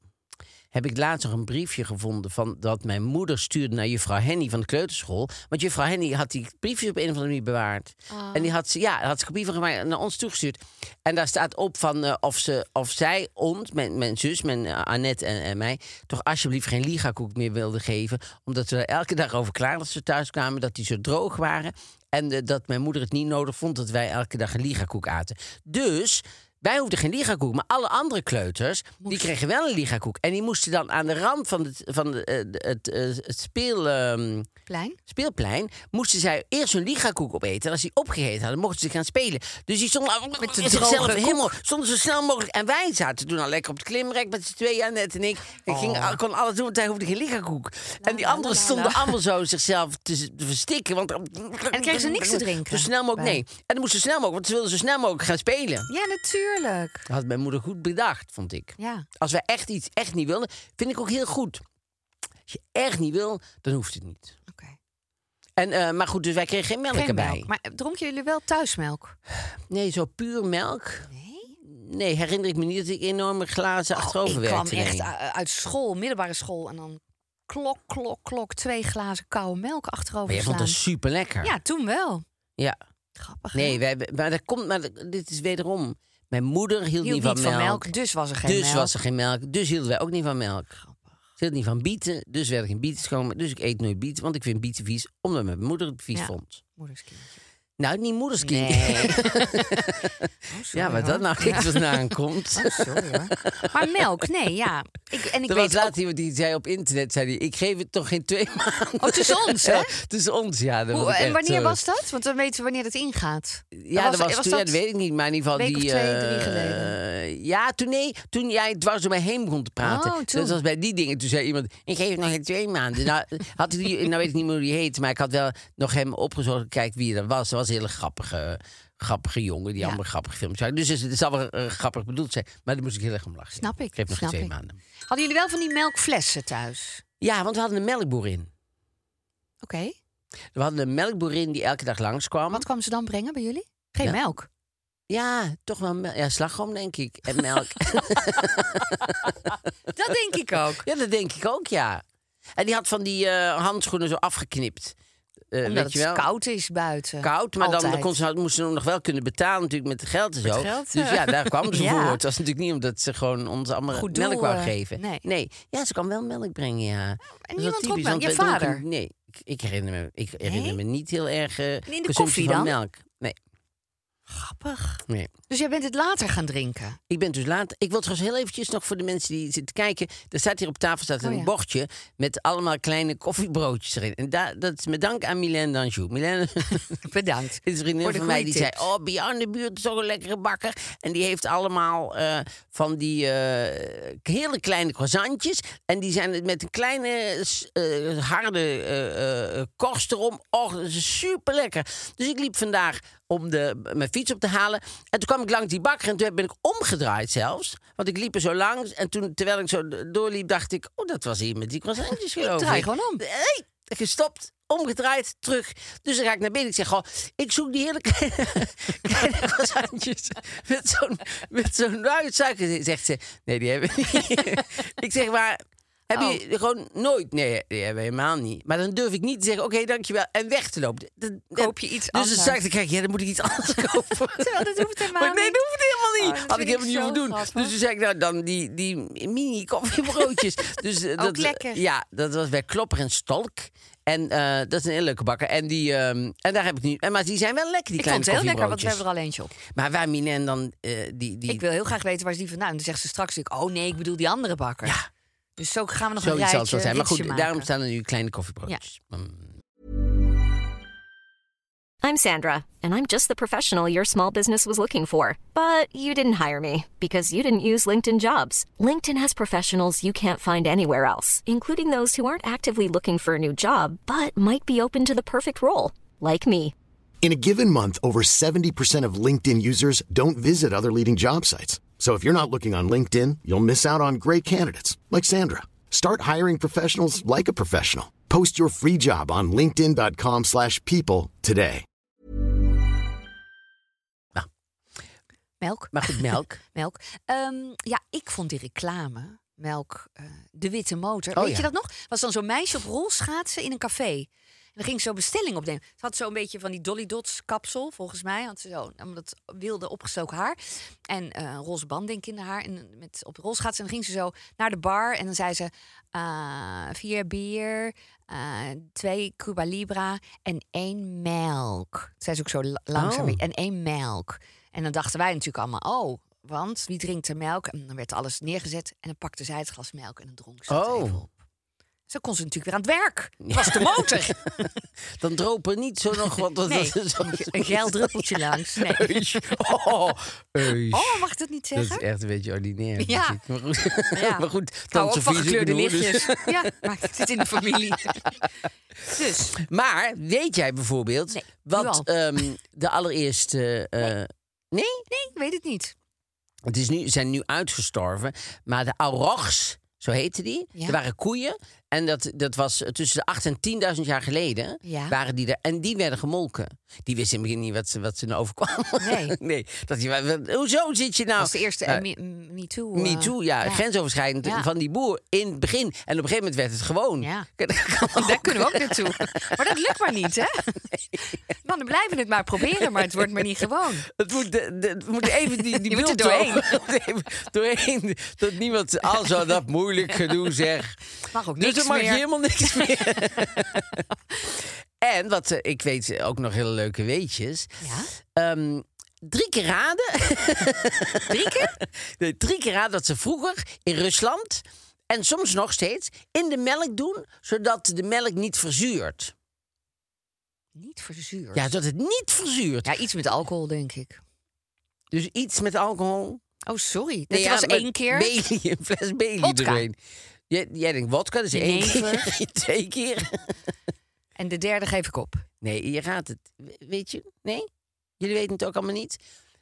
[SPEAKER 4] heb ik laatst nog een briefje gevonden van dat mijn moeder stuurde naar juffrouw Henny van de kleuterschool. Want juffrouw Henny had die briefjes op een of andere manier bewaard. En die had ze, ja, daar had ze kopie van gemaakt naar ons toegestuurd. En daar staat op van eh, of, ze, of zij ons, mijn, mijn zus, mijn eh, Annette en, en mij, toch alsjeblieft geen ligakoek meer wilden geven. Omdat we er elke dag over klaagden als we thuis kwamen, dat die zo droog waren. En eh, dat mijn moeder het niet nodig vond dat wij elke dag een ligakoek aten. Dus wij hoefden geen ligakoek, maar alle andere kleuters die kregen wel een ligakoek. En die moesten dan aan de rand van het, van de, eh, het, eh, het speel, ehm,
[SPEAKER 3] Plein?
[SPEAKER 4] speelplein moesten zij eerst hun ligakoek opeten. En als die opgegeten hadden, mochten ze gaan spelen. Dus die stonden al-
[SPEAKER 3] Met de
[SPEAKER 4] zichzelf
[SPEAKER 3] droge
[SPEAKER 4] helemaal, stonden zo snel mogelijk. En wij zaten toen al lekker op het klimrek met z'n tweeën, Annette en ik. Ik ging, al- kon alles doen, want wij hoefden geen ligakoek. En die
[SPEAKER 3] Oh. la,
[SPEAKER 4] anderen
[SPEAKER 3] la, la, la.
[SPEAKER 4] stonden allemaal zo zichzelf te, te verstikken. Want, en
[SPEAKER 3] kregen ze niks te drinken?
[SPEAKER 4] Zo snel mogelijk,
[SPEAKER 3] Bij.
[SPEAKER 4] nee. En dan moesten ze snel mogelijk, want ze wilden zo snel mogelijk gaan spelen.
[SPEAKER 3] Ja, natuurlijk.
[SPEAKER 4] Dat had mijn moeder goed bedacht, vond ik.
[SPEAKER 3] Ja.
[SPEAKER 4] Als wij echt iets echt niet wilden, vind ik ook heel goed. Als je echt niet wil, dan hoeft het niet.
[SPEAKER 3] Oké.
[SPEAKER 4] En, eh, maar goed, dus wij kregen geen melk
[SPEAKER 3] Geen
[SPEAKER 4] erbij.
[SPEAKER 3] melk. Maar eh, dronken jullie wel thuismelk?
[SPEAKER 4] Nee, zo puur melk.
[SPEAKER 3] Nee.
[SPEAKER 4] Nee, herinner ik me niet dat ik enorme glazen achterover
[SPEAKER 3] Oh, ik kwam
[SPEAKER 4] werkte. nee.
[SPEAKER 3] echt eh, uit school, middelbare school. En dan klok, klok, klok, twee glazen koude melk achterover
[SPEAKER 4] Maar jij vond
[SPEAKER 3] slaan.
[SPEAKER 4] dat super lekker.
[SPEAKER 3] Ja, toen wel.
[SPEAKER 4] ja.
[SPEAKER 3] Grappig. hè?
[SPEAKER 4] Nee, wij, hebben- maar dat komt. Maar dat- dit is wederom. Mijn moeder hield,
[SPEAKER 3] Hield
[SPEAKER 4] niet van, melk,
[SPEAKER 3] dus was er geen
[SPEAKER 4] Dus
[SPEAKER 3] melk.
[SPEAKER 4] was er geen melk. Dus hielden wij ook niet van melk. Ze hield niet van bieten. Dus werd er geen bieten schoon. Dus ik eet nooit bieten. Want ik vind bieten vies. Omdat mijn moeder het vies
[SPEAKER 3] Ja.
[SPEAKER 4] vond.
[SPEAKER 3] Moederskindje.
[SPEAKER 4] Nou, niet moederskind.
[SPEAKER 3] Nee. Oh,
[SPEAKER 4] ja, waar dat nou echt vandaan komt.
[SPEAKER 3] Oh, Sorry hoor. Maar melk, nee, ja. Ik, en ik
[SPEAKER 4] Er was
[SPEAKER 3] weet
[SPEAKER 4] laatst iemand die zei op internet, zei die, ik geef het toch geen twee maanden.
[SPEAKER 3] Oh, tussen ons, hè?
[SPEAKER 4] Ja, tussen ons, ja. dat
[SPEAKER 3] Hoe,
[SPEAKER 4] vond ik
[SPEAKER 3] en
[SPEAKER 4] echt eh,
[SPEAKER 3] wanneer
[SPEAKER 4] zo-
[SPEAKER 3] was dat? Want dan weten we wanneer het ingaat.
[SPEAKER 4] Ja, dat was, toen, ja, dat
[SPEAKER 3] dat-
[SPEAKER 4] weet ik niet, maar in ieder geval
[SPEAKER 3] week of
[SPEAKER 4] die...
[SPEAKER 3] twee, drie
[SPEAKER 4] eh,
[SPEAKER 3] geleden?
[SPEAKER 4] ja, toen, nee, toen jij dwars door mij heen begon te praten.
[SPEAKER 3] Oh, toen.
[SPEAKER 4] Dat was bij die dingen. Toen zei iemand, ik geef het nog geen twee maanden. Nou, had ik die, nou weet ik niet meer hoe die heet, maar ik had wel nog hem opgezocht. Kijk wie dat was. Dat was een hele grappige, grappige jongen die
[SPEAKER 3] Ja.
[SPEAKER 4] allemaal grappige films maakte. Dus het zal wel eh, grappig bedoeld zijn. Maar daar moest ik heel erg om lachen.
[SPEAKER 3] Snap ik,
[SPEAKER 4] Ik geef nog
[SPEAKER 3] snap
[SPEAKER 4] geen twee
[SPEAKER 3] ik.
[SPEAKER 4] maanden.
[SPEAKER 3] Hadden jullie wel van die melkflessen thuis?
[SPEAKER 4] Ja, want we hadden een melkboer in.
[SPEAKER 3] Oké.
[SPEAKER 4] We hadden een melkboerin die elke dag langskwam.
[SPEAKER 3] Wat kwam ze dan brengen bij jullie? Geen
[SPEAKER 4] Ja.
[SPEAKER 3] melk.
[SPEAKER 4] Ja, toch wel mel- ja, slagroom, denk ik. En melk.
[SPEAKER 3] Dat denk ik ook.
[SPEAKER 4] ja, dat denk ik ook, ja. En die had van die eh, handschoenen zo afgeknipt. Eh,
[SPEAKER 3] Omdat
[SPEAKER 4] weet je
[SPEAKER 3] het
[SPEAKER 4] wel?
[SPEAKER 3] koud is buiten.
[SPEAKER 4] Koud, maar dan
[SPEAKER 3] Altijd.
[SPEAKER 4] kon ze, moest ze hem nog wel kunnen betalen natuurlijk met geld en zo.
[SPEAKER 3] geld, eh.
[SPEAKER 4] dus ja, daar kwam ze
[SPEAKER 3] Ja.
[SPEAKER 4] voor. Het was natuurlijk niet omdat ze gewoon ons allemaal
[SPEAKER 3] Goed
[SPEAKER 4] melk
[SPEAKER 3] doel,
[SPEAKER 4] wou
[SPEAKER 3] eh,
[SPEAKER 4] geven.
[SPEAKER 3] nee.
[SPEAKER 4] ja, ze kan wel melk brengen, ja. En
[SPEAKER 3] niemand dronk melk? Je vader?
[SPEAKER 4] nee, ik, ik herinner me, ik herinner
[SPEAKER 3] Nee?
[SPEAKER 4] me niet heel erg eh
[SPEAKER 3] de
[SPEAKER 4] consumptie
[SPEAKER 3] koffie
[SPEAKER 4] van
[SPEAKER 3] dan?
[SPEAKER 4] melk. Nee,
[SPEAKER 3] Grappig.
[SPEAKER 4] nee.
[SPEAKER 3] Dus jij bent het later gaan drinken.
[SPEAKER 4] Ik ben dus laat. Ik wil trouwens heel eventjes nog voor de mensen die zitten kijken. Er staat hier op tafel staat een
[SPEAKER 3] ja.
[SPEAKER 4] bordje met allemaal kleine koffiebroodjes erin. En daar, dat is met dank aan Milène Danjou. Milène
[SPEAKER 3] Bedankt.
[SPEAKER 4] is een vriendin
[SPEAKER 3] Voor de
[SPEAKER 4] van mij
[SPEAKER 3] goeie
[SPEAKER 4] die zei...
[SPEAKER 3] tips.
[SPEAKER 4] Oh, bij jou in de buurt is ook een lekkere bakker. En die heeft allemaal eh, van die eh, hele kleine croissantjes. En die zijn met een kleine s- eh, harde eh, eh, korst erom. Och, dat is super lekker. Dus ik liep vandaag om de, mijn fiets op te halen. En toen kwam ik langs die bakker en toen ben ik omgedraaid zelfs. Want ik liep er zo langs. En toen, terwijl ik zo d- doorliep, dacht ik... Oh, dat was hier met die croissantjes geloof
[SPEAKER 3] Draai
[SPEAKER 4] ik.
[SPEAKER 3] gewoon om.
[SPEAKER 4] Hey, gestopt, omgedraaid, terug. Dus dan ga ik naar binnen. Ik zeg, goh, ik zoek die hele kleine, kleine croissantjes met zo'n met zo'n ruit suiker. Zegt ze, nee, die hebben we niet. ik zeg, maar heb
[SPEAKER 3] Oh.
[SPEAKER 4] je gewoon nooit? Nee, die hebben we helemaal niet. Maar dan durf ik niet te zeggen, oké, dankjewel. En weg te lopen. Dat- dat-
[SPEAKER 3] Koop je iets
[SPEAKER 4] dus
[SPEAKER 3] anders.
[SPEAKER 4] Dus dan zei ik, kijk, ja, dan moet ik iets anders kopen.
[SPEAKER 3] Terwijl dat hoeft helemaal
[SPEAKER 4] Maar ik, nee,
[SPEAKER 3] niet.
[SPEAKER 4] dat hoeft helemaal
[SPEAKER 3] Oh,
[SPEAKER 4] niet.
[SPEAKER 3] dat
[SPEAKER 4] Had ik
[SPEAKER 3] vind ik
[SPEAKER 4] helemaal niet hoeven
[SPEAKER 3] zo
[SPEAKER 4] doen.
[SPEAKER 3] grappig.
[SPEAKER 4] Dus toen zei ik, nou, dan die, die mini-koffiebroodjes. dus, eh,
[SPEAKER 3] Ook
[SPEAKER 4] dat,
[SPEAKER 3] lekker.
[SPEAKER 4] Ja, dat was bij Klopper en Stolk. En eh, dat is een hele leuke bakker. En, die, ehm, en daar heb ik nu... en Maar die zijn wel lekker, die
[SPEAKER 3] Ik
[SPEAKER 4] kleine
[SPEAKER 3] vond het heel lekker, want we hebben
[SPEAKER 4] koffiebroodjes.
[SPEAKER 3] er al eentje op.
[SPEAKER 4] Maar waar Minen dan eh, die... die
[SPEAKER 3] Ik wil heel graag weten waar is die vandaan. En dan zegt ze straks natuurlijk, oh nee, ik bedoel die andere bakker. Dus zo gaan we nog een rijtje,
[SPEAKER 4] zoiets zal het wel zijn. Maar
[SPEAKER 3] ritje
[SPEAKER 4] goed,
[SPEAKER 3] maken.
[SPEAKER 4] daarom staan er nu kleine koffiebroodjes. Mm.
[SPEAKER 5] I'm Sandra, and I'm just the professional your small business was looking for. But you didn't hire me because you didn't use LinkedIn jobs. LinkedIn has professionals you can't find anywhere else, including those who aren't actively looking for a new job but might be open to the perfect role, like me.
[SPEAKER 6] In a given month, over 70% of LinkedIn users don't visit other leading job sites. So if you're not looking on LinkedIn, you'll miss out on great candidates like Sandra. Start hiring professionals like a professional. Post your free job on linkedin.com/people slash people today.
[SPEAKER 3] Melk.
[SPEAKER 4] Maar goed, melk.
[SPEAKER 3] Melk. Ehm, ja, ik vond die reclame, melk, eh, de witte motor.
[SPEAKER 4] Oh,
[SPEAKER 3] Weet
[SPEAKER 4] ja.
[SPEAKER 3] je dat nog? Was dan zo'n meisje op rolschaatsen in een café. En dan ging ze zo bestelling opnemen. Ze had zo'n beetje van die Dolly Dots kapsel, volgens mij. Had ze zo, om dat wilde opgestoken haar. En eh een roze band, denk ik, in haar haar. En met, op rolschaatsen. En dan ging ze zo naar de bar. En dan zei ze, ah, vier bier, ah, twee Cuba Libra en één melk. Zei ze ook zo la- langzaam.
[SPEAKER 4] Oh.
[SPEAKER 3] En één melk. En dan dachten wij natuurlijk allemaal, oh, want wie drinkt er melk? En dan werd alles neergezet en dan pakte zij het glas melk en dan dronk ze het
[SPEAKER 4] Oh.
[SPEAKER 3] even op. Zo kon ze natuurlijk weer aan het werk. Het was de motor.
[SPEAKER 4] Dan droop er niet zo nog wat... wat-
[SPEAKER 3] Nee,
[SPEAKER 4] wat- wat-
[SPEAKER 3] een geil druppeltje langs. Nee.
[SPEAKER 4] Eus. Oh, eus.
[SPEAKER 3] Oh, mag ik dat niet
[SPEAKER 4] Dat is
[SPEAKER 3] zeggen?
[SPEAKER 4] echt een beetje ordinair.
[SPEAKER 3] Ja.
[SPEAKER 4] natuurlijk. Maar goed,
[SPEAKER 3] Ja.
[SPEAKER 4] maar goed
[SPEAKER 3] Ik hou
[SPEAKER 4] tante
[SPEAKER 3] ook van
[SPEAKER 4] Sophie is ook
[SPEAKER 3] gekleurde
[SPEAKER 4] een hoer, dus-
[SPEAKER 3] lichtjes. Ja, maar het zit in de familie. Dus,
[SPEAKER 4] Maar weet jij bijvoorbeeld
[SPEAKER 3] Nee, nu
[SPEAKER 4] wat
[SPEAKER 3] al.
[SPEAKER 4] ehm, de allereerste... eh, nee.
[SPEAKER 3] nee, ik weet het niet.
[SPEAKER 4] Het is nu, zijn nu uitgestorven, maar de aurochs, zo heette die,
[SPEAKER 3] Ja.
[SPEAKER 4] er waren koeien. En dat, dat was tussen de 8.000 en 10.000 jaar geleden
[SPEAKER 3] Ja.
[SPEAKER 4] waren die er. En die werden gemolken. Die wisten in het begin niet wat ze, wat ze nou overkwam.
[SPEAKER 3] Nee.
[SPEAKER 4] nee dat die, wa- hoezo zit je nou...
[SPEAKER 3] Dat was de eerste
[SPEAKER 4] Eh,
[SPEAKER 3] eh, Me- m- Me Too. eh,
[SPEAKER 4] Me too, ja, grensoverschrijdend
[SPEAKER 3] Ja.
[SPEAKER 4] van die boer in het begin. En op een gegeven moment werd het gewoon.
[SPEAKER 3] Ja.
[SPEAKER 4] Daar kan
[SPEAKER 3] Daar kunnen we ook naartoe. Maar dat lukt maar niet, hè? Mannen blijven het maar proberen, maar het wordt maar niet gewoon.
[SPEAKER 4] Het moet, de, de- het moet even die, die
[SPEAKER 3] Je moet er
[SPEAKER 4] beeld
[SPEAKER 3] doorheen.
[SPEAKER 4] over- even doorheen. Dat niemand al zo dat moeilijk gedoe zeg.
[SPEAKER 3] Mag ook
[SPEAKER 4] Dus
[SPEAKER 3] niks
[SPEAKER 4] dan mag je
[SPEAKER 3] meer.
[SPEAKER 4] helemaal niks meer. en wat eh, ik weet eh, ook nog hele leuke weetjes.
[SPEAKER 3] Ja?
[SPEAKER 4] Ehm, drie keer raden. drie keer? Nee, drie keer raden dat ze vroeger in Rusland en soms nog steeds in de melk doen, zodat de melk niet verzuurt.
[SPEAKER 3] Niet verzuurd.
[SPEAKER 4] Ja, zodat het niet verzuurt.
[SPEAKER 3] Ja, iets met alcohol, denk ik.
[SPEAKER 4] Dus iets met alcohol.
[SPEAKER 3] Oh, sorry. Dat
[SPEAKER 4] Nee, ja,
[SPEAKER 3] was
[SPEAKER 4] maar
[SPEAKER 3] één keer.
[SPEAKER 4] Bailey, een fles Bailey
[SPEAKER 3] Wodka.
[SPEAKER 4] doorheen. Jij, jij denkt wodka, dat is één
[SPEAKER 3] Jenever.
[SPEAKER 4] keer. Twee keer.
[SPEAKER 3] En de derde geef ik op.
[SPEAKER 4] Nee, je raadt het. We- Weet je? Nee? Jullie weten het ook allemaal niet.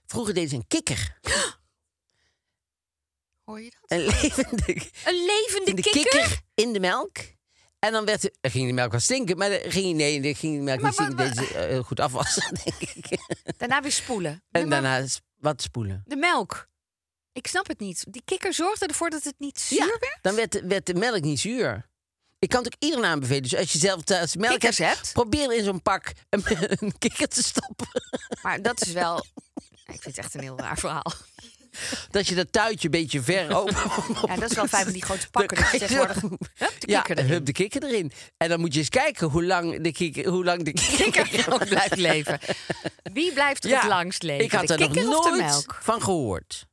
[SPEAKER 4] Vroeger deden ze een kikker.
[SPEAKER 3] Hoor je dat?
[SPEAKER 4] Een levende
[SPEAKER 3] Een levende
[SPEAKER 4] de
[SPEAKER 3] kikker?
[SPEAKER 4] in de melk. En dan werd, er ging die melk wel stinken, maar dan ging, die- nee, dan ging die melk
[SPEAKER 3] Maar
[SPEAKER 4] niet stinken.
[SPEAKER 3] wat-
[SPEAKER 4] Deze heel goed afwassen, denk ik.
[SPEAKER 3] Daarna weer spoelen.
[SPEAKER 4] En
[SPEAKER 3] Nee, maar
[SPEAKER 4] daarna s- wat spoelen.
[SPEAKER 3] De melk. Ik snap het niet. Die kikker zorgde ervoor dat het niet zuur werd.
[SPEAKER 4] Dan werd, de- werd de melk niet zuur. Ik kan het ook iedereen aanbevelen. Dus als je zelf thuis melk
[SPEAKER 3] Kikkers
[SPEAKER 4] hebt,
[SPEAKER 3] hebt.
[SPEAKER 4] probeer in zo'n pak een, een kikker te stoppen.
[SPEAKER 3] Maar dat is wel... Ik vind het echt een heel raar verhaal.
[SPEAKER 4] Dat je dat tuitje een beetje ver open...
[SPEAKER 3] Ja, dat is wel fijn van die grote
[SPEAKER 4] Dan
[SPEAKER 3] pakken.
[SPEAKER 4] kan
[SPEAKER 3] Dat je
[SPEAKER 4] je
[SPEAKER 3] tegenwoordig...
[SPEAKER 4] zo-
[SPEAKER 3] Hup, de
[SPEAKER 4] ja,
[SPEAKER 3] kikker erin.
[SPEAKER 4] hup de kikker erin. En dan moet je eens kijken hoe lang de kikker, hoe lang de kikker,
[SPEAKER 3] kikker ook blijft leven. Wie blijft er
[SPEAKER 4] Ja,
[SPEAKER 3] het langst leven?
[SPEAKER 4] Ik had
[SPEAKER 3] de
[SPEAKER 4] er nog
[SPEAKER 3] kikker of de
[SPEAKER 4] nooit
[SPEAKER 3] melk?
[SPEAKER 4] van gehoord.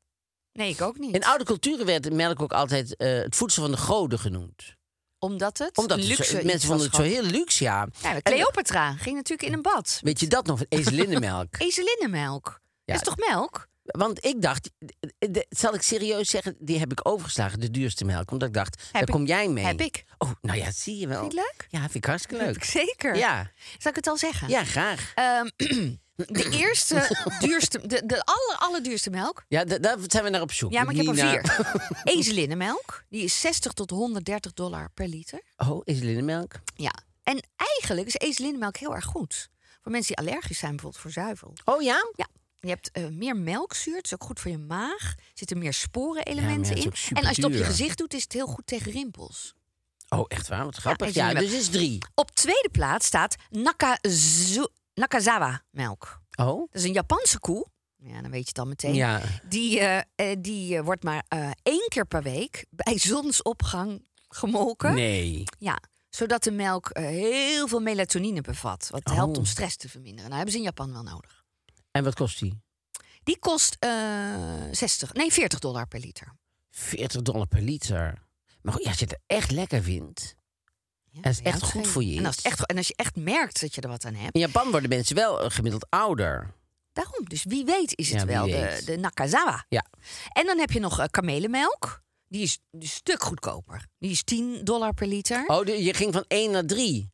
[SPEAKER 3] Nee, ik ook niet.
[SPEAKER 4] In oude culturen werd melk ook altijd eh, het voedsel van de goden genoemd.
[SPEAKER 3] Omdat het
[SPEAKER 4] Omdat
[SPEAKER 3] een
[SPEAKER 4] het zo-
[SPEAKER 3] luxe iets
[SPEAKER 4] mensen vonden het
[SPEAKER 3] was
[SPEAKER 4] zo
[SPEAKER 3] gewoon.
[SPEAKER 4] heel luxe, ja.
[SPEAKER 3] Ja, maar
[SPEAKER 4] En-
[SPEAKER 3] Cleopatra ging natuurlijk in een bad.
[SPEAKER 4] Weet je dat nog? Ezelinnenmelk.
[SPEAKER 3] Ezelinnenmelk.
[SPEAKER 4] Ja.
[SPEAKER 3] Dat is toch melk?
[SPEAKER 4] Want ik dacht, de- de- zal ik serieus zeggen, die heb ik overgeslagen, de duurste melk. Omdat ik dacht, daar
[SPEAKER 3] ik-
[SPEAKER 4] kom jij mee.
[SPEAKER 3] heb ik.
[SPEAKER 4] Oh, nou ja, zie je wel.
[SPEAKER 3] Vind je het leuk?
[SPEAKER 4] Ja, vind ik hartstikke
[SPEAKER 3] Heb
[SPEAKER 4] leuk.
[SPEAKER 3] ik zeker.
[SPEAKER 4] Ja,
[SPEAKER 3] Zal ik het al zeggen?
[SPEAKER 4] ja graag.
[SPEAKER 3] Ehm, de eerste duurste, de, de aller, allerduurste melk.
[SPEAKER 4] Ja, da- daar zijn we naar op zoek.
[SPEAKER 3] Ja, maar ik heb
[SPEAKER 4] Niet
[SPEAKER 3] er
[SPEAKER 4] naar-
[SPEAKER 3] vier. Ezelinnenmelk. Die is 60 tot 130 dollar per liter.
[SPEAKER 4] Oh, ezelinnenmelk.
[SPEAKER 3] Ja. En eigenlijk is ezelinnenmelk heel erg goed. Voor mensen die allergisch zijn bijvoorbeeld voor zuivel.
[SPEAKER 4] Oh ja?
[SPEAKER 3] Ja. Je hebt eh, meer melkzuur, het is ook goed voor je maag. Er zitten meer sporenelementen
[SPEAKER 4] het is
[SPEAKER 3] in.
[SPEAKER 4] ook
[SPEAKER 3] En als je het op je
[SPEAKER 4] superduur.
[SPEAKER 3] gezicht doet, is het heel goed tegen rimpels.
[SPEAKER 4] Oh, echt waar? Wat grappig. Ja,
[SPEAKER 3] ezelinnenmelk.
[SPEAKER 4] dus is drie.
[SPEAKER 3] Op tweede plaats staat Nakazu- Nakazawa-melk.
[SPEAKER 4] Oh?
[SPEAKER 3] Dat is een Japanse koe. Ja, dan weet je het al meteen.
[SPEAKER 4] Ja.
[SPEAKER 3] Die, eh, eh, die eh, wordt maar eh, één keer per week bij zonsopgang gemolken.
[SPEAKER 4] Nee.
[SPEAKER 3] Ja, zodat de melk eh, heel veel melatonine bevat. Wat
[SPEAKER 4] Oh.
[SPEAKER 3] helpt om stress te verminderen. Nou hebben ze in Japan wel nodig.
[SPEAKER 4] En wat kost die?
[SPEAKER 3] Die kost eh 60, nee 40 dollar per liter.
[SPEAKER 4] 40 dollar per liter. Maar goed, ja, als je het echt lekker vindt.
[SPEAKER 3] Ja,
[SPEAKER 4] Dat is
[SPEAKER 3] ben je aan
[SPEAKER 4] echt
[SPEAKER 3] het
[SPEAKER 4] goed
[SPEAKER 3] geven.
[SPEAKER 4] voor je
[SPEAKER 3] En als, het
[SPEAKER 4] is.
[SPEAKER 3] echt, en als je echt merkt dat je er wat aan hebt.
[SPEAKER 4] In Japan worden mensen wel eh, gemiddeld ouder.
[SPEAKER 3] Daarom, dus wie weet is het
[SPEAKER 4] Ja, wie
[SPEAKER 3] wel de,
[SPEAKER 4] weet.
[SPEAKER 3] de Nakazawa.
[SPEAKER 4] Ja.
[SPEAKER 3] En dan heb je nog eh, kamelenmelk. Die is een stuk goedkoper. Die is 10 dollar per liter.
[SPEAKER 4] Oh, de- je ging van 1 naar 3.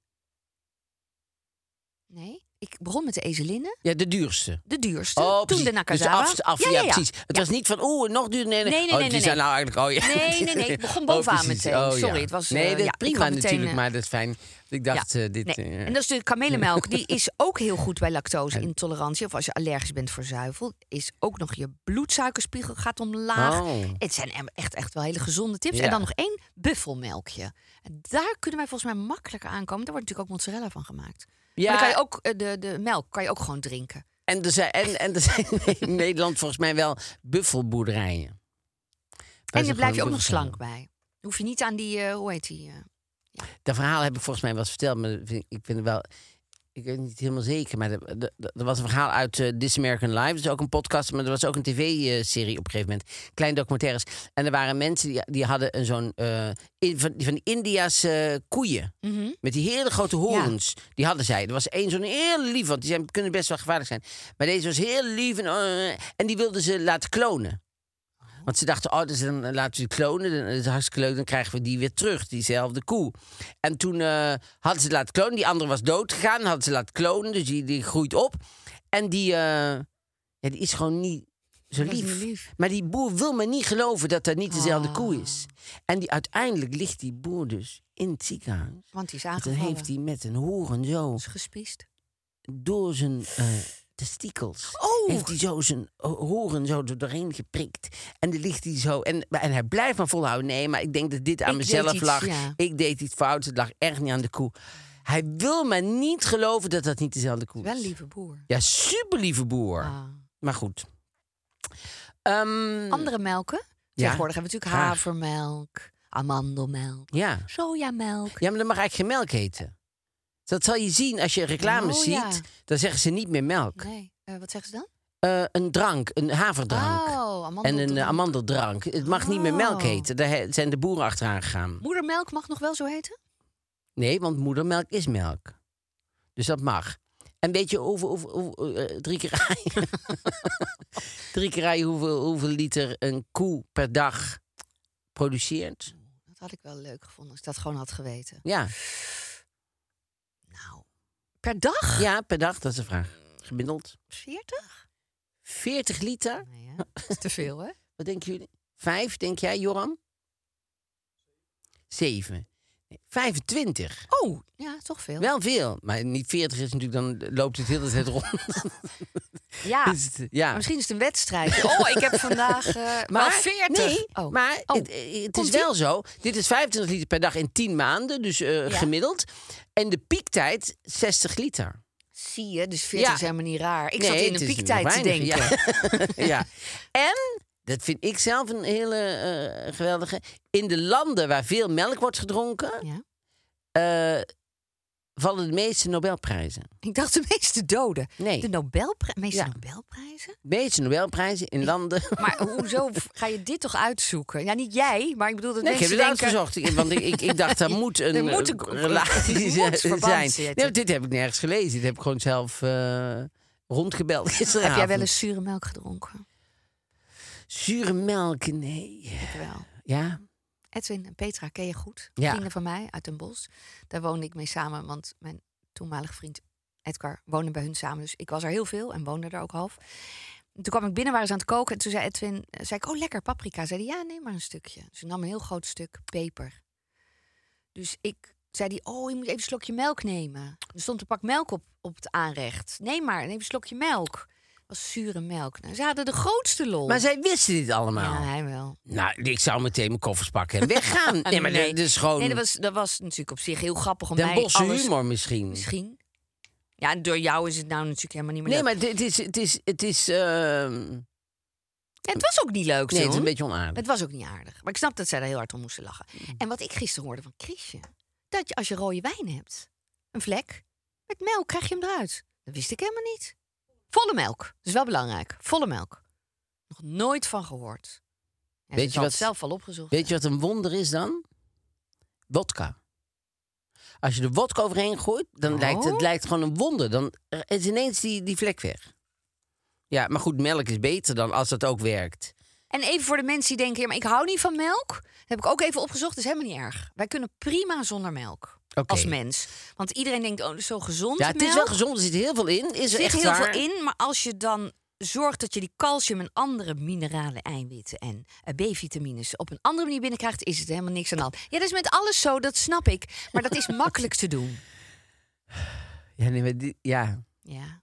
[SPEAKER 3] Nee, ik begon met de ezelinnen.
[SPEAKER 4] Ja, de duurste.
[SPEAKER 3] De duurste.
[SPEAKER 4] oh,
[SPEAKER 3] toen
[SPEAKER 4] precies.
[SPEAKER 3] de Nakazawa.
[SPEAKER 4] Dus af, af, ja, precies. Het was niet van, oeh, nog duurder. Nee, nee,
[SPEAKER 3] Nee, nee,
[SPEAKER 4] oh,
[SPEAKER 3] nee,
[SPEAKER 4] die
[SPEAKER 3] nee,
[SPEAKER 4] zijn
[SPEAKER 3] nee.
[SPEAKER 4] nou eigenlijk... Oh, ja.
[SPEAKER 3] Nee, nee, nee, ik begon
[SPEAKER 4] Oh,
[SPEAKER 3] bovenaan
[SPEAKER 4] precies.
[SPEAKER 3] meteen.
[SPEAKER 4] Oh, ja.
[SPEAKER 3] Sorry, het was,
[SPEAKER 4] Nee,
[SPEAKER 3] eh,
[SPEAKER 4] dat
[SPEAKER 3] ja, ik
[SPEAKER 4] prima
[SPEAKER 3] kwam meteen,
[SPEAKER 4] natuurlijk,
[SPEAKER 3] eh,
[SPEAKER 4] maar dat is fijn. Ik
[SPEAKER 3] Ja.
[SPEAKER 4] dacht, eh, dit...
[SPEAKER 3] Nee,
[SPEAKER 4] eh,
[SPEAKER 3] En dat is de kamelenmelk. Die is ook heel goed bij lactose-intolerantie. Of als je allergisch bent voor zuivel. Is ook nog je bloedsuikerspiegel gaat omlaag.
[SPEAKER 4] Oh.
[SPEAKER 3] Het zijn em- echt, echt wel hele gezonde tips.
[SPEAKER 4] Ja.
[SPEAKER 3] En dan nog één buffelmelkje. En Daar kunnen wij volgens mij makkelijker aankomen. Daar wordt natuurlijk ook mozzarella van gemaakt.
[SPEAKER 4] Ja.
[SPEAKER 3] Ja. Maar dan kan je ook, eh, de, de melk kan je ook gewoon drinken.
[SPEAKER 4] En er zijn, en, en er zijn in Nederland volgens mij wel buffelboerderijen.
[SPEAKER 3] en dan blijf je ook nog slank bij. Dan hoef je niet aan die, eh, hoe heet die? eh,
[SPEAKER 4] Dat verhaal heb ik volgens mij wel eens verteld, maar dat vind ik ik vind het wel... Ik weet niet helemaal zeker, maar er- er er was een verhaal uit eh, This American Life. Dat is ook een podcast, maar er was ook een tv-serie op een gegeven moment. Klein documentaires. En er waren mensen die, die hadden een zo'n... eh, in- van, van die India's eh, koeien. Met die hele grote horens. Die hadden zij. Er was één zo'n heel lief, want die zijn, kunnen best wel gevaarlijk zijn. Maar deze was heel lief en, eh, en die wilden ze laten klonen. Want ze dachten, oh, dus dan laten we ze klonen. Dan is het hartstikke leuk, dan krijgen we die weer terug, diezelfde koe. En toen eh, hadden ze het laten klonen. Die andere was dood gegaan, hadden ze laten klonen. Dus die, die groeit op. En die, eh, ja, die is gewoon niet zo
[SPEAKER 3] Dat is
[SPEAKER 4] lief.
[SPEAKER 3] niet lief. Ah.
[SPEAKER 4] Maar die boer wil maar niet geloven dat dat niet dezelfde koe is. En die, uiteindelijk ligt die boer dus in het ziekenhuis.
[SPEAKER 3] Want die is
[SPEAKER 4] En toen
[SPEAKER 3] aangevallen.
[SPEAKER 4] heeft hij met een horen zo
[SPEAKER 3] Is gespiest.
[SPEAKER 4] door zijn eh testikels.
[SPEAKER 3] Oh!
[SPEAKER 4] Heeft hij zo zijn ho- horen zo er doorheen geprikt. En dan ligt hij zo. En, en hij blijft maar volhouden. Nee, maar ik denk dat dit aan
[SPEAKER 3] Ik deed
[SPEAKER 4] mezelf
[SPEAKER 3] iets,
[SPEAKER 4] lag.
[SPEAKER 3] ja.
[SPEAKER 4] Ik deed iets fout. Het lag echt niet aan de koe. Hij wil maar niet geloven dat dat niet dezelfde koe is.
[SPEAKER 3] Wel een lieve boer.
[SPEAKER 4] Ja, super lieve boer.
[SPEAKER 3] Ah.
[SPEAKER 4] Maar goed. Ehm,
[SPEAKER 3] Andere melken? Tegenwoordig hebben we natuurlijk
[SPEAKER 4] graag.
[SPEAKER 3] havermelk, amandelmelk,
[SPEAKER 4] Ja.
[SPEAKER 3] sojamelk.
[SPEAKER 4] ja, maar dan mag eigenlijk geen melk heten. Dat zal je zien als je reclames
[SPEAKER 3] Oh,
[SPEAKER 4] ziet.
[SPEAKER 3] ja.
[SPEAKER 4] Dan zeggen ze niet meer melk.
[SPEAKER 3] Nee, eh, wat zeggen ze dan?
[SPEAKER 4] Eh, een drank, een haverdrank.
[SPEAKER 3] Oh,
[SPEAKER 4] En
[SPEAKER 3] amandelmelk.
[SPEAKER 4] een eh, amandeldrank. Het mag niet meer melk
[SPEAKER 3] Oh.
[SPEAKER 4] heten. Daar he- zijn de boeren achteraan gegaan.
[SPEAKER 3] Moedermelk mag nog wel zo heten?
[SPEAKER 4] Nee, want moedermelk is melk. Dus dat mag. En weet je hoeveel... hoeveel- hoeveel, eh, drie keer aaien. drie keer aaien hoeveel, hoeveel liter een koe per dag produceert?
[SPEAKER 3] Dat had ik wel leuk gevonden als ik dat gewoon had geweten.
[SPEAKER 4] Ja,
[SPEAKER 3] Nou, per dag?
[SPEAKER 4] ja per dag, dat is de vraag. Gemiddeld
[SPEAKER 3] 40?
[SPEAKER 4] 40 liter.
[SPEAKER 3] Nee, hè? Dat is te veel, hè?
[SPEAKER 4] Wat denken jullie? Vijf, denk jij, Joram? Zeven. 25.
[SPEAKER 3] Oh, ja, toch veel.
[SPEAKER 4] Wel veel, maar niet 40 is natuurlijk, dan loopt het heel de tijd rond.
[SPEAKER 3] ja.
[SPEAKER 4] Is het, ja.
[SPEAKER 3] Ah, Maar misschien is het een wedstrijd. Oh, ik heb vandaag eh, wel 40.
[SPEAKER 4] Nee,
[SPEAKER 3] oh.
[SPEAKER 4] maar
[SPEAKER 3] Oh.
[SPEAKER 4] het, het is
[SPEAKER 3] Komt-ie?
[SPEAKER 4] wel zo. Dit is 25 liter per dag in 10 maanden, dus eh,
[SPEAKER 3] Ja.
[SPEAKER 4] gemiddeld. En de piektijd 60 liter.
[SPEAKER 3] Zie je, dus 40
[SPEAKER 4] Ja.
[SPEAKER 3] is helemaal niet raar. Ik
[SPEAKER 4] Nee,
[SPEAKER 3] zat in
[SPEAKER 4] het
[SPEAKER 3] de
[SPEAKER 4] is
[SPEAKER 3] piektijd
[SPEAKER 4] nog
[SPEAKER 3] te denken.
[SPEAKER 4] weinig, Ja. ja. En, dat vind ik zelf een hele eh, geweldige... in de landen waar veel melk wordt gedronken...
[SPEAKER 3] Ja.
[SPEAKER 4] eh, vallen de meeste Nobelprijzen.
[SPEAKER 3] Ik dacht de meeste doden.
[SPEAKER 4] Nee.
[SPEAKER 3] De Nobelprij meeste
[SPEAKER 4] Ja.
[SPEAKER 3] Nobelprijzen?
[SPEAKER 4] De meeste Nobelprijzen in landen...
[SPEAKER 3] Maar hoezo v- ga je dit toch uitzoeken? Ja, niet jij, maar ik bedoel dat
[SPEAKER 4] Nee, ik heb
[SPEAKER 3] mensen
[SPEAKER 4] het
[SPEAKER 3] denken...
[SPEAKER 4] uitgezocht. Ik- Want ik, ik, ik dacht, daar moet een,
[SPEAKER 3] Er moet
[SPEAKER 4] eh,
[SPEAKER 3] een-
[SPEAKER 4] relatie
[SPEAKER 3] er
[SPEAKER 4] zijn.
[SPEAKER 3] moet verband
[SPEAKER 4] Nee,
[SPEAKER 3] zitten.
[SPEAKER 4] maar dit heb ik nergens gelezen. Dit heb ik gewoon zelf eh, rondgebeld gisteravond.
[SPEAKER 3] Heb jij wel eens zure melk gedronken?
[SPEAKER 4] Zure melk, nee.
[SPEAKER 3] Ik wel.
[SPEAKER 4] Ja,
[SPEAKER 3] Edwin en Petra ken je goed.
[SPEAKER 4] Ja.
[SPEAKER 3] Vrienden van mij uit Den Bosch. Daar woonde ik mee samen, want mijn toenmalige vriend Edgar woonde bij hun samen. Dus ik was er heel veel en woonde er ook half. En Toen kwam ik binnen, waren ze aan het koken. En toen zei Edwin, eh, zei ik, oh lekker, paprika. Zei hij, ja, neem maar een stukje. Dus Ze nam een heel groot stuk peper. Dus ik zei die, oh, je moet even een slokje melk nemen. Er stond een pak melk op, op het aanrecht. Neem maar, neem een slokje melk. Dat was zure melk. Nou, ze hadden de grootste lol.
[SPEAKER 4] maar zij wisten dit allemaal.
[SPEAKER 3] ja, hij wel.
[SPEAKER 4] Nou, ik zou meteen mijn koffers pakken en weggaan. nee, maar dat is gewoon
[SPEAKER 3] Nee, dat was, dat was natuurlijk op zich heel grappig om
[SPEAKER 4] Den
[SPEAKER 3] mij
[SPEAKER 4] Bosch
[SPEAKER 3] alles...
[SPEAKER 4] humor misschien.
[SPEAKER 3] Misschien. Ja, en door jou is het nou natuurlijk helemaal niet meer
[SPEAKER 4] Nee,
[SPEAKER 3] leuk.
[SPEAKER 4] maar dit is... Het is, het is ehm,
[SPEAKER 3] Ja, het was ook niet leuk,
[SPEAKER 4] nee, het is
[SPEAKER 3] John.
[SPEAKER 4] een beetje Mm. onaardig.
[SPEAKER 3] Het was ook niet aardig. Maar ik snap dat zij daar heel hard om moesten lachen. En wat ik gisteren hoorde van Chrisje... dat je als je rode wijn hebt, een vlek... met melk krijg je hem eruit. Dat wist ik helemaal niet. Volle melk. Dat is wel belangrijk. Volle melk. Nog nooit van gehoord. Ja,
[SPEAKER 4] Weet
[SPEAKER 3] ze
[SPEAKER 4] je
[SPEAKER 3] zal
[SPEAKER 4] wat-
[SPEAKER 3] het zelf al opgezocht.
[SPEAKER 4] Weet je wat een wonder is dan? Wodka. Als je de wodka overheen gooit, dan
[SPEAKER 3] Oh.
[SPEAKER 4] lijkt het lijkt gewoon een wonder. Dan is ineens die, die vlek weg. Ja, maar goed, melk is beter dan als dat ook werkt.
[SPEAKER 3] En even voor de mensen die denken, ja, maar ik hou niet van melk. Dat heb ik ook even opgezocht, dat is helemaal niet erg. Wij kunnen prima zonder melk.
[SPEAKER 4] Oké.
[SPEAKER 3] Als mens. Want iedereen denkt, oh, dat is zo gezond.
[SPEAKER 4] Ja, het
[SPEAKER 3] melk.
[SPEAKER 4] is wel gezond, er zit heel veel in. Is
[SPEAKER 3] Er
[SPEAKER 4] er
[SPEAKER 3] zit
[SPEAKER 4] echt
[SPEAKER 3] heel
[SPEAKER 4] waar.
[SPEAKER 3] veel in, maar als je dan zorgt dat je die calcium en andere mineralen, eiwitten en eh, B-vitamines op een andere manier binnenkrijgt, is het helemaal niks aan de hand. Ja, dat is met alles zo, dat snap ik. Maar dat is makkelijk te doen.
[SPEAKER 4] Ja, nee, maar die- ja.
[SPEAKER 3] Ja.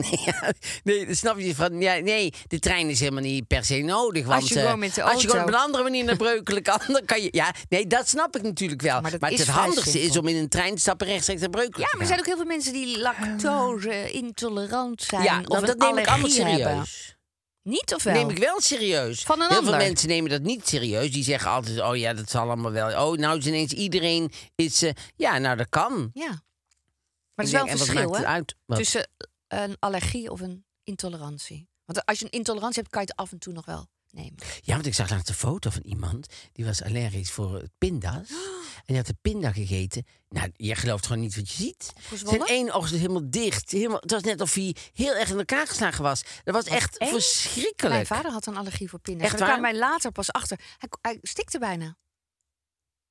[SPEAKER 4] Ja, nee, dat snap je van. Ja, nee, de trein is helemaal niet per se nodig. Want,
[SPEAKER 3] je
[SPEAKER 4] eh,
[SPEAKER 3] gewoon met de
[SPEAKER 4] als je gewoon op
[SPEAKER 3] auto-
[SPEAKER 4] een andere manier naar Breukelen kan, dan kan je. Ja, nee, dat snap ik natuurlijk wel.
[SPEAKER 3] Maar
[SPEAKER 4] Maar,
[SPEAKER 3] dat is
[SPEAKER 4] het
[SPEAKER 3] vrij
[SPEAKER 4] handigste is
[SPEAKER 3] simpel.
[SPEAKER 4] om in een trein te stappen rechtstreeks naar Breukelen.
[SPEAKER 3] ja,
[SPEAKER 4] te
[SPEAKER 3] maar er
[SPEAKER 4] gaan.
[SPEAKER 3] zijn ook heel veel mensen die lactose intolerant zijn.
[SPEAKER 4] Ja,
[SPEAKER 3] of
[SPEAKER 4] nou,
[SPEAKER 3] een
[SPEAKER 4] dat neem ik allemaal
[SPEAKER 3] allergie
[SPEAKER 4] serieus.
[SPEAKER 3] hebben. Niet of wel?
[SPEAKER 4] Neem ik wel serieus.
[SPEAKER 3] Van een
[SPEAKER 4] Heel
[SPEAKER 3] ander.
[SPEAKER 4] veel mensen nemen dat niet serieus. Die zeggen altijd: oh ja, dat zal allemaal wel. Oh, nou is ineens iedereen is. eh, ja, nou dat kan.
[SPEAKER 3] Ja. Maar er is
[SPEAKER 4] Ik
[SPEAKER 3] wel
[SPEAKER 4] denk,
[SPEAKER 3] een
[SPEAKER 4] en wat
[SPEAKER 3] verschil
[SPEAKER 4] maakt
[SPEAKER 3] hè?
[SPEAKER 4] het
[SPEAKER 3] Dus-
[SPEAKER 4] uit? Wat?
[SPEAKER 3] tussen een allergie of een intolerantie. Want als je een intolerantie hebt, kan je het af en toe nog wel nemen.
[SPEAKER 4] Ja, want ik zag laatst een foto van iemand die was allergisch voor eh, pinda's. En die had de pinda gegeten. Nou, je gelooft gewoon niet wat je ziet.
[SPEAKER 3] Opgezwollen?
[SPEAKER 4] Zijn één oog is helemaal dicht. Helemaal, het was net of hij heel erg in elkaar geslagen was. Dat was echt
[SPEAKER 3] eng.
[SPEAKER 4] verschrikkelijk.
[SPEAKER 3] Mijn vader had een allergie voor pinda's.
[SPEAKER 4] Echt
[SPEAKER 3] Daar kwam
[SPEAKER 4] waar?
[SPEAKER 3] mij later pas achter. Hij, hij stikte bijna.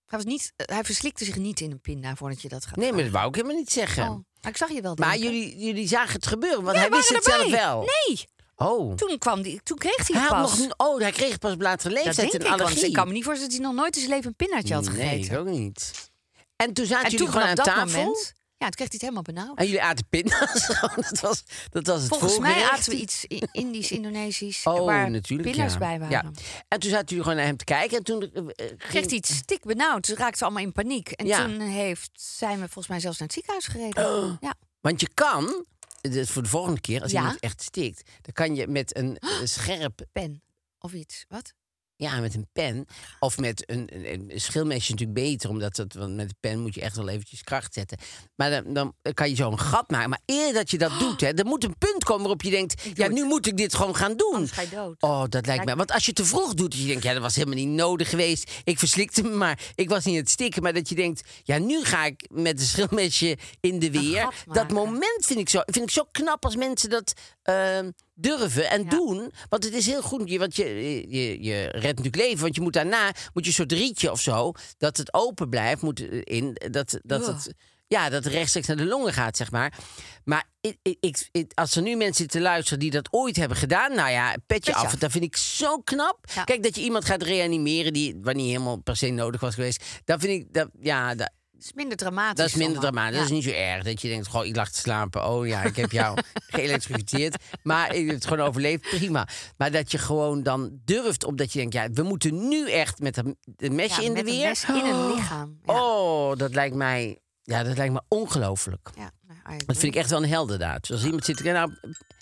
[SPEAKER 3] Hij, was niet, eh, hij verslikte zich niet in een pinda voordat je dat gaat
[SPEAKER 4] Nee, maar dat
[SPEAKER 3] vragen.
[SPEAKER 4] wou ik helemaal niet zeggen.
[SPEAKER 3] Oh, maar ik zag je wel
[SPEAKER 4] Maar
[SPEAKER 3] denken.
[SPEAKER 4] jullie, jullie zagen het gebeuren, want
[SPEAKER 3] Ja,
[SPEAKER 4] hij
[SPEAKER 3] we
[SPEAKER 4] wist
[SPEAKER 3] waren
[SPEAKER 4] het zelf
[SPEAKER 3] erbij.
[SPEAKER 4] wel.
[SPEAKER 3] Nee,
[SPEAKER 4] Oh.
[SPEAKER 3] toen, kwam die, toen kreeg hij
[SPEAKER 4] Hij
[SPEAKER 3] het
[SPEAKER 4] had
[SPEAKER 3] pas.
[SPEAKER 4] nog, n- oh, hij kreeg pas op latere
[SPEAKER 3] dat
[SPEAKER 4] leeftijd
[SPEAKER 3] denk ik,
[SPEAKER 4] een
[SPEAKER 3] want
[SPEAKER 4] allergie.
[SPEAKER 3] ik kan me niet voorstellen dat hij nog nooit in zijn leven een pindaatje had gegeten.
[SPEAKER 4] Nee, ik ook niet. En toen zaten
[SPEAKER 3] en
[SPEAKER 4] jullie
[SPEAKER 3] toen
[SPEAKER 4] gewoon
[SPEAKER 3] vanaf
[SPEAKER 4] aan
[SPEAKER 3] dat
[SPEAKER 4] tafel.
[SPEAKER 3] moment... Ja, toen kreeg hij het helemaal benauwd.
[SPEAKER 4] En jullie aten pinda's. gewoon. dat, was, dat was het
[SPEAKER 3] Volgens mij
[SPEAKER 4] voorgerecht.
[SPEAKER 3] aten we iets I- Indisch, Indonesisch,
[SPEAKER 4] Oh,
[SPEAKER 3] waar
[SPEAKER 4] natuurlijk.
[SPEAKER 3] pillars
[SPEAKER 4] ja.
[SPEAKER 3] bij waren.
[SPEAKER 4] Ja. En toen zaten jullie gewoon naar hem te kijken. En toen eh, eh,
[SPEAKER 3] Kreeg
[SPEAKER 4] ging
[SPEAKER 3] hij iets stik benauwd, ze raakten allemaal in paniek. En
[SPEAKER 4] Ja. Oh.
[SPEAKER 3] toen heeft, zijn we volgens mij zelfs naar het ziekenhuis gereden. Ja.
[SPEAKER 4] Want je kan, eh, dus voor de volgende keer, als
[SPEAKER 3] Ja.
[SPEAKER 4] iemand echt stikt, dan kan je met een eh, scherp,
[SPEAKER 3] Pen of iets. Wat?
[SPEAKER 4] ja, met een pen of met een, een, een schilmesje is natuurlijk beter, omdat dat, want met een pen moet je echt wel eventjes kracht zetten. Maar dan, dan kan je zo'n gat maken. Maar eerder dat je dat doet, hè, er moet een punt komen waarop je denkt, ja,
[SPEAKER 3] het.
[SPEAKER 4] nu moet ik dit gewoon gaan doen.
[SPEAKER 3] Anders ga je dood.
[SPEAKER 4] Oh, dat lijkt mij. Want als je te vroeg doet, dat je denkt, ja, dat was helemaal niet nodig geweest. Ik verslikte me maar. Ik was niet aan het stikken. Maar dat je denkt, ja, nu ga ik met een schilmesje in de weer.
[SPEAKER 3] gat
[SPEAKER 4] Dat
[SPEAKER 3] maken.
[SPEAKER 4] moment vind ik, zo, vind ik zo knap als mensen dat ehm, durven en doen. Want het is heel goed. Je- Want je, je, je redt natuurlijk leven. Want je moet daarna, moet je een soort rietje of zo, dat het open blijft, moet eh, in. Dat, dat
[SPEAKER 3] Ugh.
[SPEAKER 4] het... ja, dat het rechtstreeks naar de longen gaat, zeg maar. Maar ik, ik, ik- ik- als er nu mensen zitten luisteren die dat ooit hebben gedaan, nou ja, petje af.
[SPEAKER 3] af.
[SPEAKER 4] Dat vind ik zo knap.
[SPEAKER 3] Ja.
[SPEAKER 4] Kijk, dat je iemand gaat reanimeren die wat niet helemaal per se nodig was geweest. Dat vind ik, dat, ja, dat,
[SPEAKER 3] Het is minder dramatisch.
[SPEAKER 4] dat is minder
[SPEAKER 3] allemaal.
[SPEAKER 4] dramatisch. Dat is
[SPEAKER 3] Ja.
[SPEAKER 4] niet zo erg. Dat je denkt, goh, ik lag te slapen. Oh ja, ik heb jou geëlectrocuteerd. Maar ik heb het gewoon overleefd. Prima. Maar dat je gewoon dan durft, omdat je denkt, ja, we moeten nu echt met een een mesje
[SPEAKER 3] Ja,
[SPEAKER 4] in
[SPEAKER 3] met
[SPEAKER 4] de
[SPEAKER 3] een
[SPEAKER 4] weer.
[SPEAKER 3] mes in een lichaam. Ja.
[SPEAKER 4] Oh, dat lijkt mij, ja, dat lijkt me ongelooflijk.
[SPEAKER 3] Ja, nou, I
[SPEAKER 4] Dat
[SPEAKER 3] agree.
[SPEAKER 4] vind ik echt wel een heldendaad. Dus als iemand zit, nou,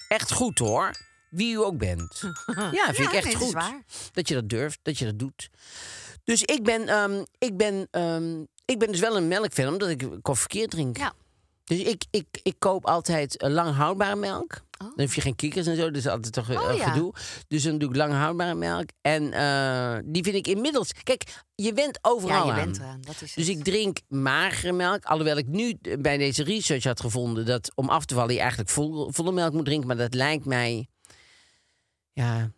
[SPEAKER 4] echt goed hoor. Wie u ook bent. Ja, vind
[SPEAKER 3] Ja,
[SPEAKER 4] ik echt
[SPEAKER 3] nee, dat
[SPEAKER 4] goed.
[SPEAKER 3] is waar.
[SPEAKER 4] Dat je dat durft, dat je dat doet. Dus ik ben, ehm, ik ben, ehm, ik ben dus wel een melkfan, omdat ik koffie verkeerd drink.
[SPEAKER 3] Ja.
[SPEAKER 4] Dus ik, ik, ik koop altijd eh, lang houdbare melk. Dan hoef je geen kikkers en zo, dus altijd toch eh,
[SPEAKER 3] Oh, ja.
[SPEAKER 4] gedoe. Dus dan doe ik lang houdbare melk. En eh, die vind ik inmiddels... Kijk, je bent
[SPEAKER 3] Ja,
[SPEAKER 4] overal
[SPEAKER 3] je
[SPEAKER 4] aan.
[SPEAKER 3] bent eraan. Dat is
[SPEAKER 4] Dus
[SPEAKER 3] het.
[SPEAKER 4] ik drink magere melk. Alhoewel ik nu eh, bij deze research had gevonden dat om af te vallen je eigenlijk vol- volle melk moet drinken. Maar dat lijkt mij. Ja,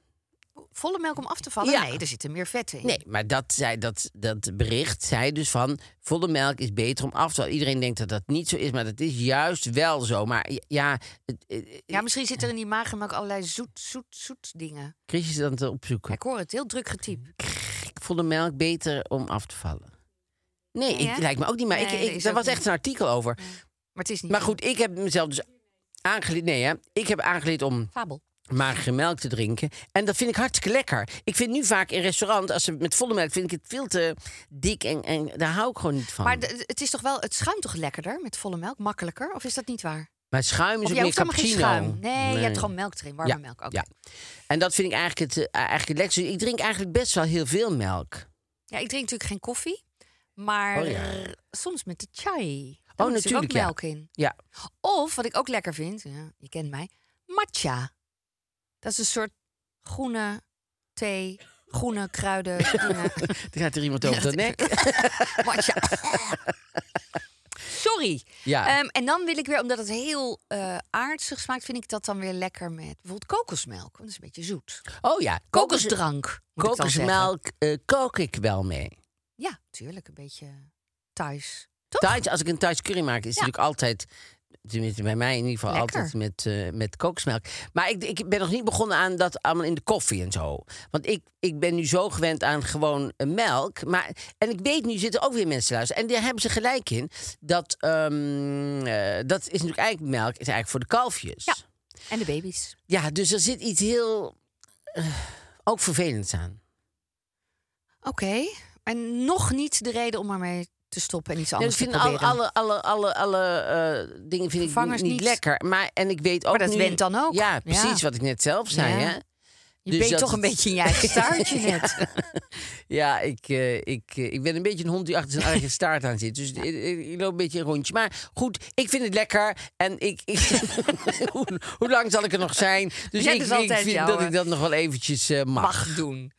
[SPEAKER 3] Volle melk om af te vallen?
[SPEAKER 4] Ja.
[SPEAKER 3] Nee, er zitten meer vetten in.
[SPEAKER 4] nee, maar dat, zei, dat, dat bericht zei dus van volle melk is beter om af te vallen. Iedereen denkt dat dat niet zo is, maar dat is juist wel zo. Maar j- ja, het- het-
[SPEAKER 3] Ja, misschien zit er in die magermelk allerlei zoet, zoet, zoet dingen.
[SPEAKER 4] Chris is aan het
[SPEAKER 3] Ja,
[SPEAKER 4] opzoeken.
[SPEAKER 3] ik hoor het, heel druk getypt.
[SPEAKER 4] Volle melk beter om af te vallen. Nee,
[SPEAKER 3] Nee,
[SPEAKER 4] ik,
[SPEAKER 3] hè?
[SPEAKER 4] lijkt me ook niet. Maar
[SPEAKER 3] Nee,
[SPEAKER 4] ik,
[SPEAKER 3] dat
[SPEAKER 4] ik,
[SPEAKER 3] is
[SPEAKER 4] daar
[SPEAKER 3] ook
[SPEAKER 4] was echt
[SPEAKER 3] niet.
[SPEAKER 4] een artikel over.
[SPEAKER 3] Maar het is niet
[SPEAKER 4] Maar
[SPEAKER 3] zo.
[SPEAKER 4] goed, ik heb mezelf dus aangeleerd. Nee, hè? ik heb aangeleerd om
[SPEAKER 3] Fabel.
[SPEAKER 4] magere melk te drinken. En dat vind ik hartstikke lekker. Ik vind nu vaak in restaurant, als ze met volle melk, vind ik het veel te dik. En, en daar hou ik gewoon niet van.
[SPEAKER 3] Maar de- het is toch wel, het schuimt toch lekkerder met volle melk? Makkelijker? Of is dat niet waar?
[SPEAKER 4] Maar schuim is
[SPEAKER 3] Of
[SPEAKER 4] ook
[SPEAKER 3] jij
[SPEAKER 4] meer
[SPEAKER 3] hoeft helemaal geen
[SPEAKER 4] cappuccino.
[SPEAKER 3] schuim. Nee, je hebt gewoon melk erin, warme melk. Oké.
[SPEAKER 4] Ja. En dat vind ik eigenlijk het, eh, eigenlijk het lekkerste. Ik drink eigenlijk best wel heel veel melk.
[SPEAKER 3] Ja, ik drink natuurlijk geen koffie. Maar
[SPEAKER 4] Oh ja.
[SPEAKER 3] soms met de chai. Daar
[SPEAKER 4] Oh,
[SPEAKER 3] moet natuurlijk
[SPEAKER 4] natuurlijk, ja.
[SPEAKER 3] ook melk in.
[SPEAKER 4] Ja.
[SPEAKER 3] Of, wat ik ook lekker vind, ja, je kent mij, matcha. Dat is een soort groene thee, groene kruiden. dingen.
[SPEAKER 4] Dan gaat er iemand over de nek.
[SPEAKER 3] matcha. Sorry.
[SPEAKER 4] Ja.
[SPEAKER 3] Ehm, en dan wil ik weer, omdat het heel eh aardsig smaakt, vind ik dat dan weer lekker met bijvoorbeeld kokosmelk. Want dat is een beetje zoet.
[SPEAKER 4] Oh ja, kokos-
[SPEAKER 3] Kokosdrank. moet ik dan zeggen.
[SPEAKER 4] Kokosmelk eh, kook ik wel mee.
[SPEAKER 3] Ja, tuurlijk. Een beetje thuis.
[SPEAKER 4] Thais, als ik een Thais curry maak, is het
[SPEAKER 3] Ja.
[SPEAKER 4] natuurlijk altijd... Tenminste, bij mij in ieder geval
[SPEAKER 3] Lekker.
[SPEAKER 4] altijd met, eh met kokosmelk. Maar ik, ik ben nog niet begonnen aan dat allemaal in de koffie en zo. Want ik, ik ben nu zo gewend aan gewoon eh, melk. Maar, en ik weet, nu zitten ook weer mensen te luisteren. En daar hebben ze gelijk in. Dat, ehm, eh, dat is natuurlijk eigenlijk melk. is eigenlijk voor de kalfjes.
[SPEAKER 3] Ja. En de baby's.
[SPEAKER 4] Ja, dus er zit iets heel... eh, ook vervelends aan.
[SPEAKER 3] Oké. En nog niet de reden om ermee te stoppen en iets
[SPEAKER 4] Ja, ik
[SPEAKER 3] anders
[SPEAKER 4] vind
[SPEAKER 3] te
[SPEAKER 4] alle,
[SPEAKER 3] proberen.
[SPEAKER 4] alle, alle, alle, alle eh, dingen vind
[SPEAKER 3] Vervangers
[SPEAKER 4] ik niet,
[SPEAKER 3] niet.
[SPEAKER 4] lekker. Maar, en ik weet ook
[SPEAKER 3] dat
[SPEAKER 4] nu-
[SPEAKER 3] went dan ook.
[SPEAKER 4] Ja,
[SPEAKER 3] Ja.
[SPEAKER 4] precies wat ik net zelf zei.
[SPEAKER 3] Ja.
[SPEAKER 4] Hè?
[SPEAKER 3] Je
[SPEAKER 4] dus
[SPEAKER 3] bent
[SPEAKER 4] dat
[SPEAKER 3] toch een
[SPEAKER 4] het-
[SPEAKER 3] beetje in je eigen staartje
[SPEAKER 4] Ja.
[SPEAKER 3] net.
[SPEAKER 4] Ja, ik, eh, ik, eh, ik ben een beetje een hond die achter zijn eigen staart aan zit. Dus ik, ik- ik loop een beetje een rondje. Maar goed, ik vind het lekker. En ik... ik hoe, hoe lang zal ik er nog zijn? Dus
[SPEAKER 3] Jij
[SPEAKER 4] ik,
[SPEAKER 3] dus
[SPEAKER 4] ik
[SPEAKER 3] altijd
[SPEAKER 4] vind
[SPEAKER 3] jouw,
[SPEAKER 4] dat
[SPEAKER 3] eh,
[SPEAKER 4] ik dat nog wel eventjes eh, mag.
[SPEAKER 3] Mag doen.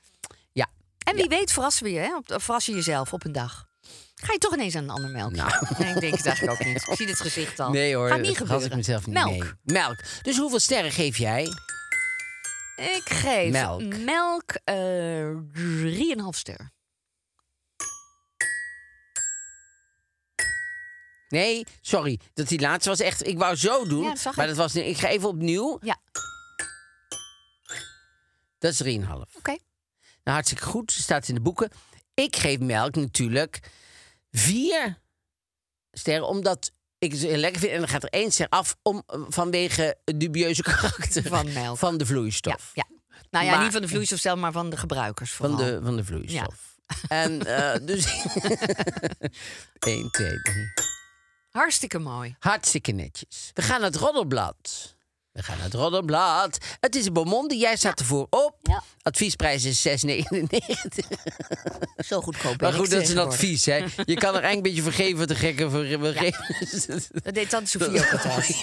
[SPEAKER 4] Ja.
[SPEAKER 3] En wie weet verrassen we je, hè? Op, verras je jezelf op een dag. Ga je toch ineens aan een ander melk? Nee, ik denk het eigenlijk ook niet. Ik zie dit gezicht al.
[SPEAKER 4] Nou. Nee hoor,
[SPEAKER 3] Oh. Gaat niet
[SPEAKER 4] dat had
[SPEAKER 3] gebeuren.
[SPEAKER 4] ik mezelf niet
[SPEAKER 3] Melk.
[SPEAKER 4] mee. Melk. Dus hoeveel sterren geef jij?
[SPEAKER 3] Ik geef
[SPEAKER 4] Melk.
[SPEAKER 3] melk eh, 3,5 ster.
[SPEAKER 4] Nee, sorry. Dat die laatste was echt... Ik wou zo doen,
[SPEAKER 3] Ja, dat zag
[SPEAKER 4] maar
[SPEAKER 3] ik.
[SPEAKER 4] dat was... Ik ga even opnieuw.
[SPEAKER 3] Ja,
[SPEAKER 4] Dat is 3,5. Nou,
[SPEAKER 3] oké.
[SPEAKER 4] hartstikke goed. Staat in de boeken. Ik geef melk natuurlijk vier sterren, omdat ik het heel lekker vind. En dan gaat er één ster af om, vanwege het dubieuze karakter
[SPEAKER 3] Van melk.
[SPEAKER 4] van de vloeistof.
[SPEAKER 3] Ja, ja. Nou ja,
[SPEAKER 4] Maar-
[SPEAKER 3] niet van de vloeistof zelf, maar van de gebruikers
[SPEAKER 4] Van,
[SPEAKER 3] vooral.
[SPEAKER 4] de, van de vloeistof. En eh, dus... 1, 2, 3.
[SPEAKER 3] Hartstikke mooi.
[SPEAKER 4] Hartstikke netjes. We gaan naar het Roddelblad. We gaan naar het Roddelblad. Het is een Beaumonde. Jij staat ervoor op.
[SPEAKER 3] Ja.
[SPEAKER 4] Adviesprijs is 6,99.
[SPEAKER 3] Zo goedkoop ben
[SPEAKER 4] Maar goed,
[SPEAKER 3] ik
[SPEAKER 4] dat is een
[SPEAKER 3] tegenwoordig.
[SPEAKER 4] advies, hè? Je kan er eigenlijk een beetje vergeven wat de gekken voor we geven.
[SPEAKER 3] Dat deed Tante Sofie ook altijd.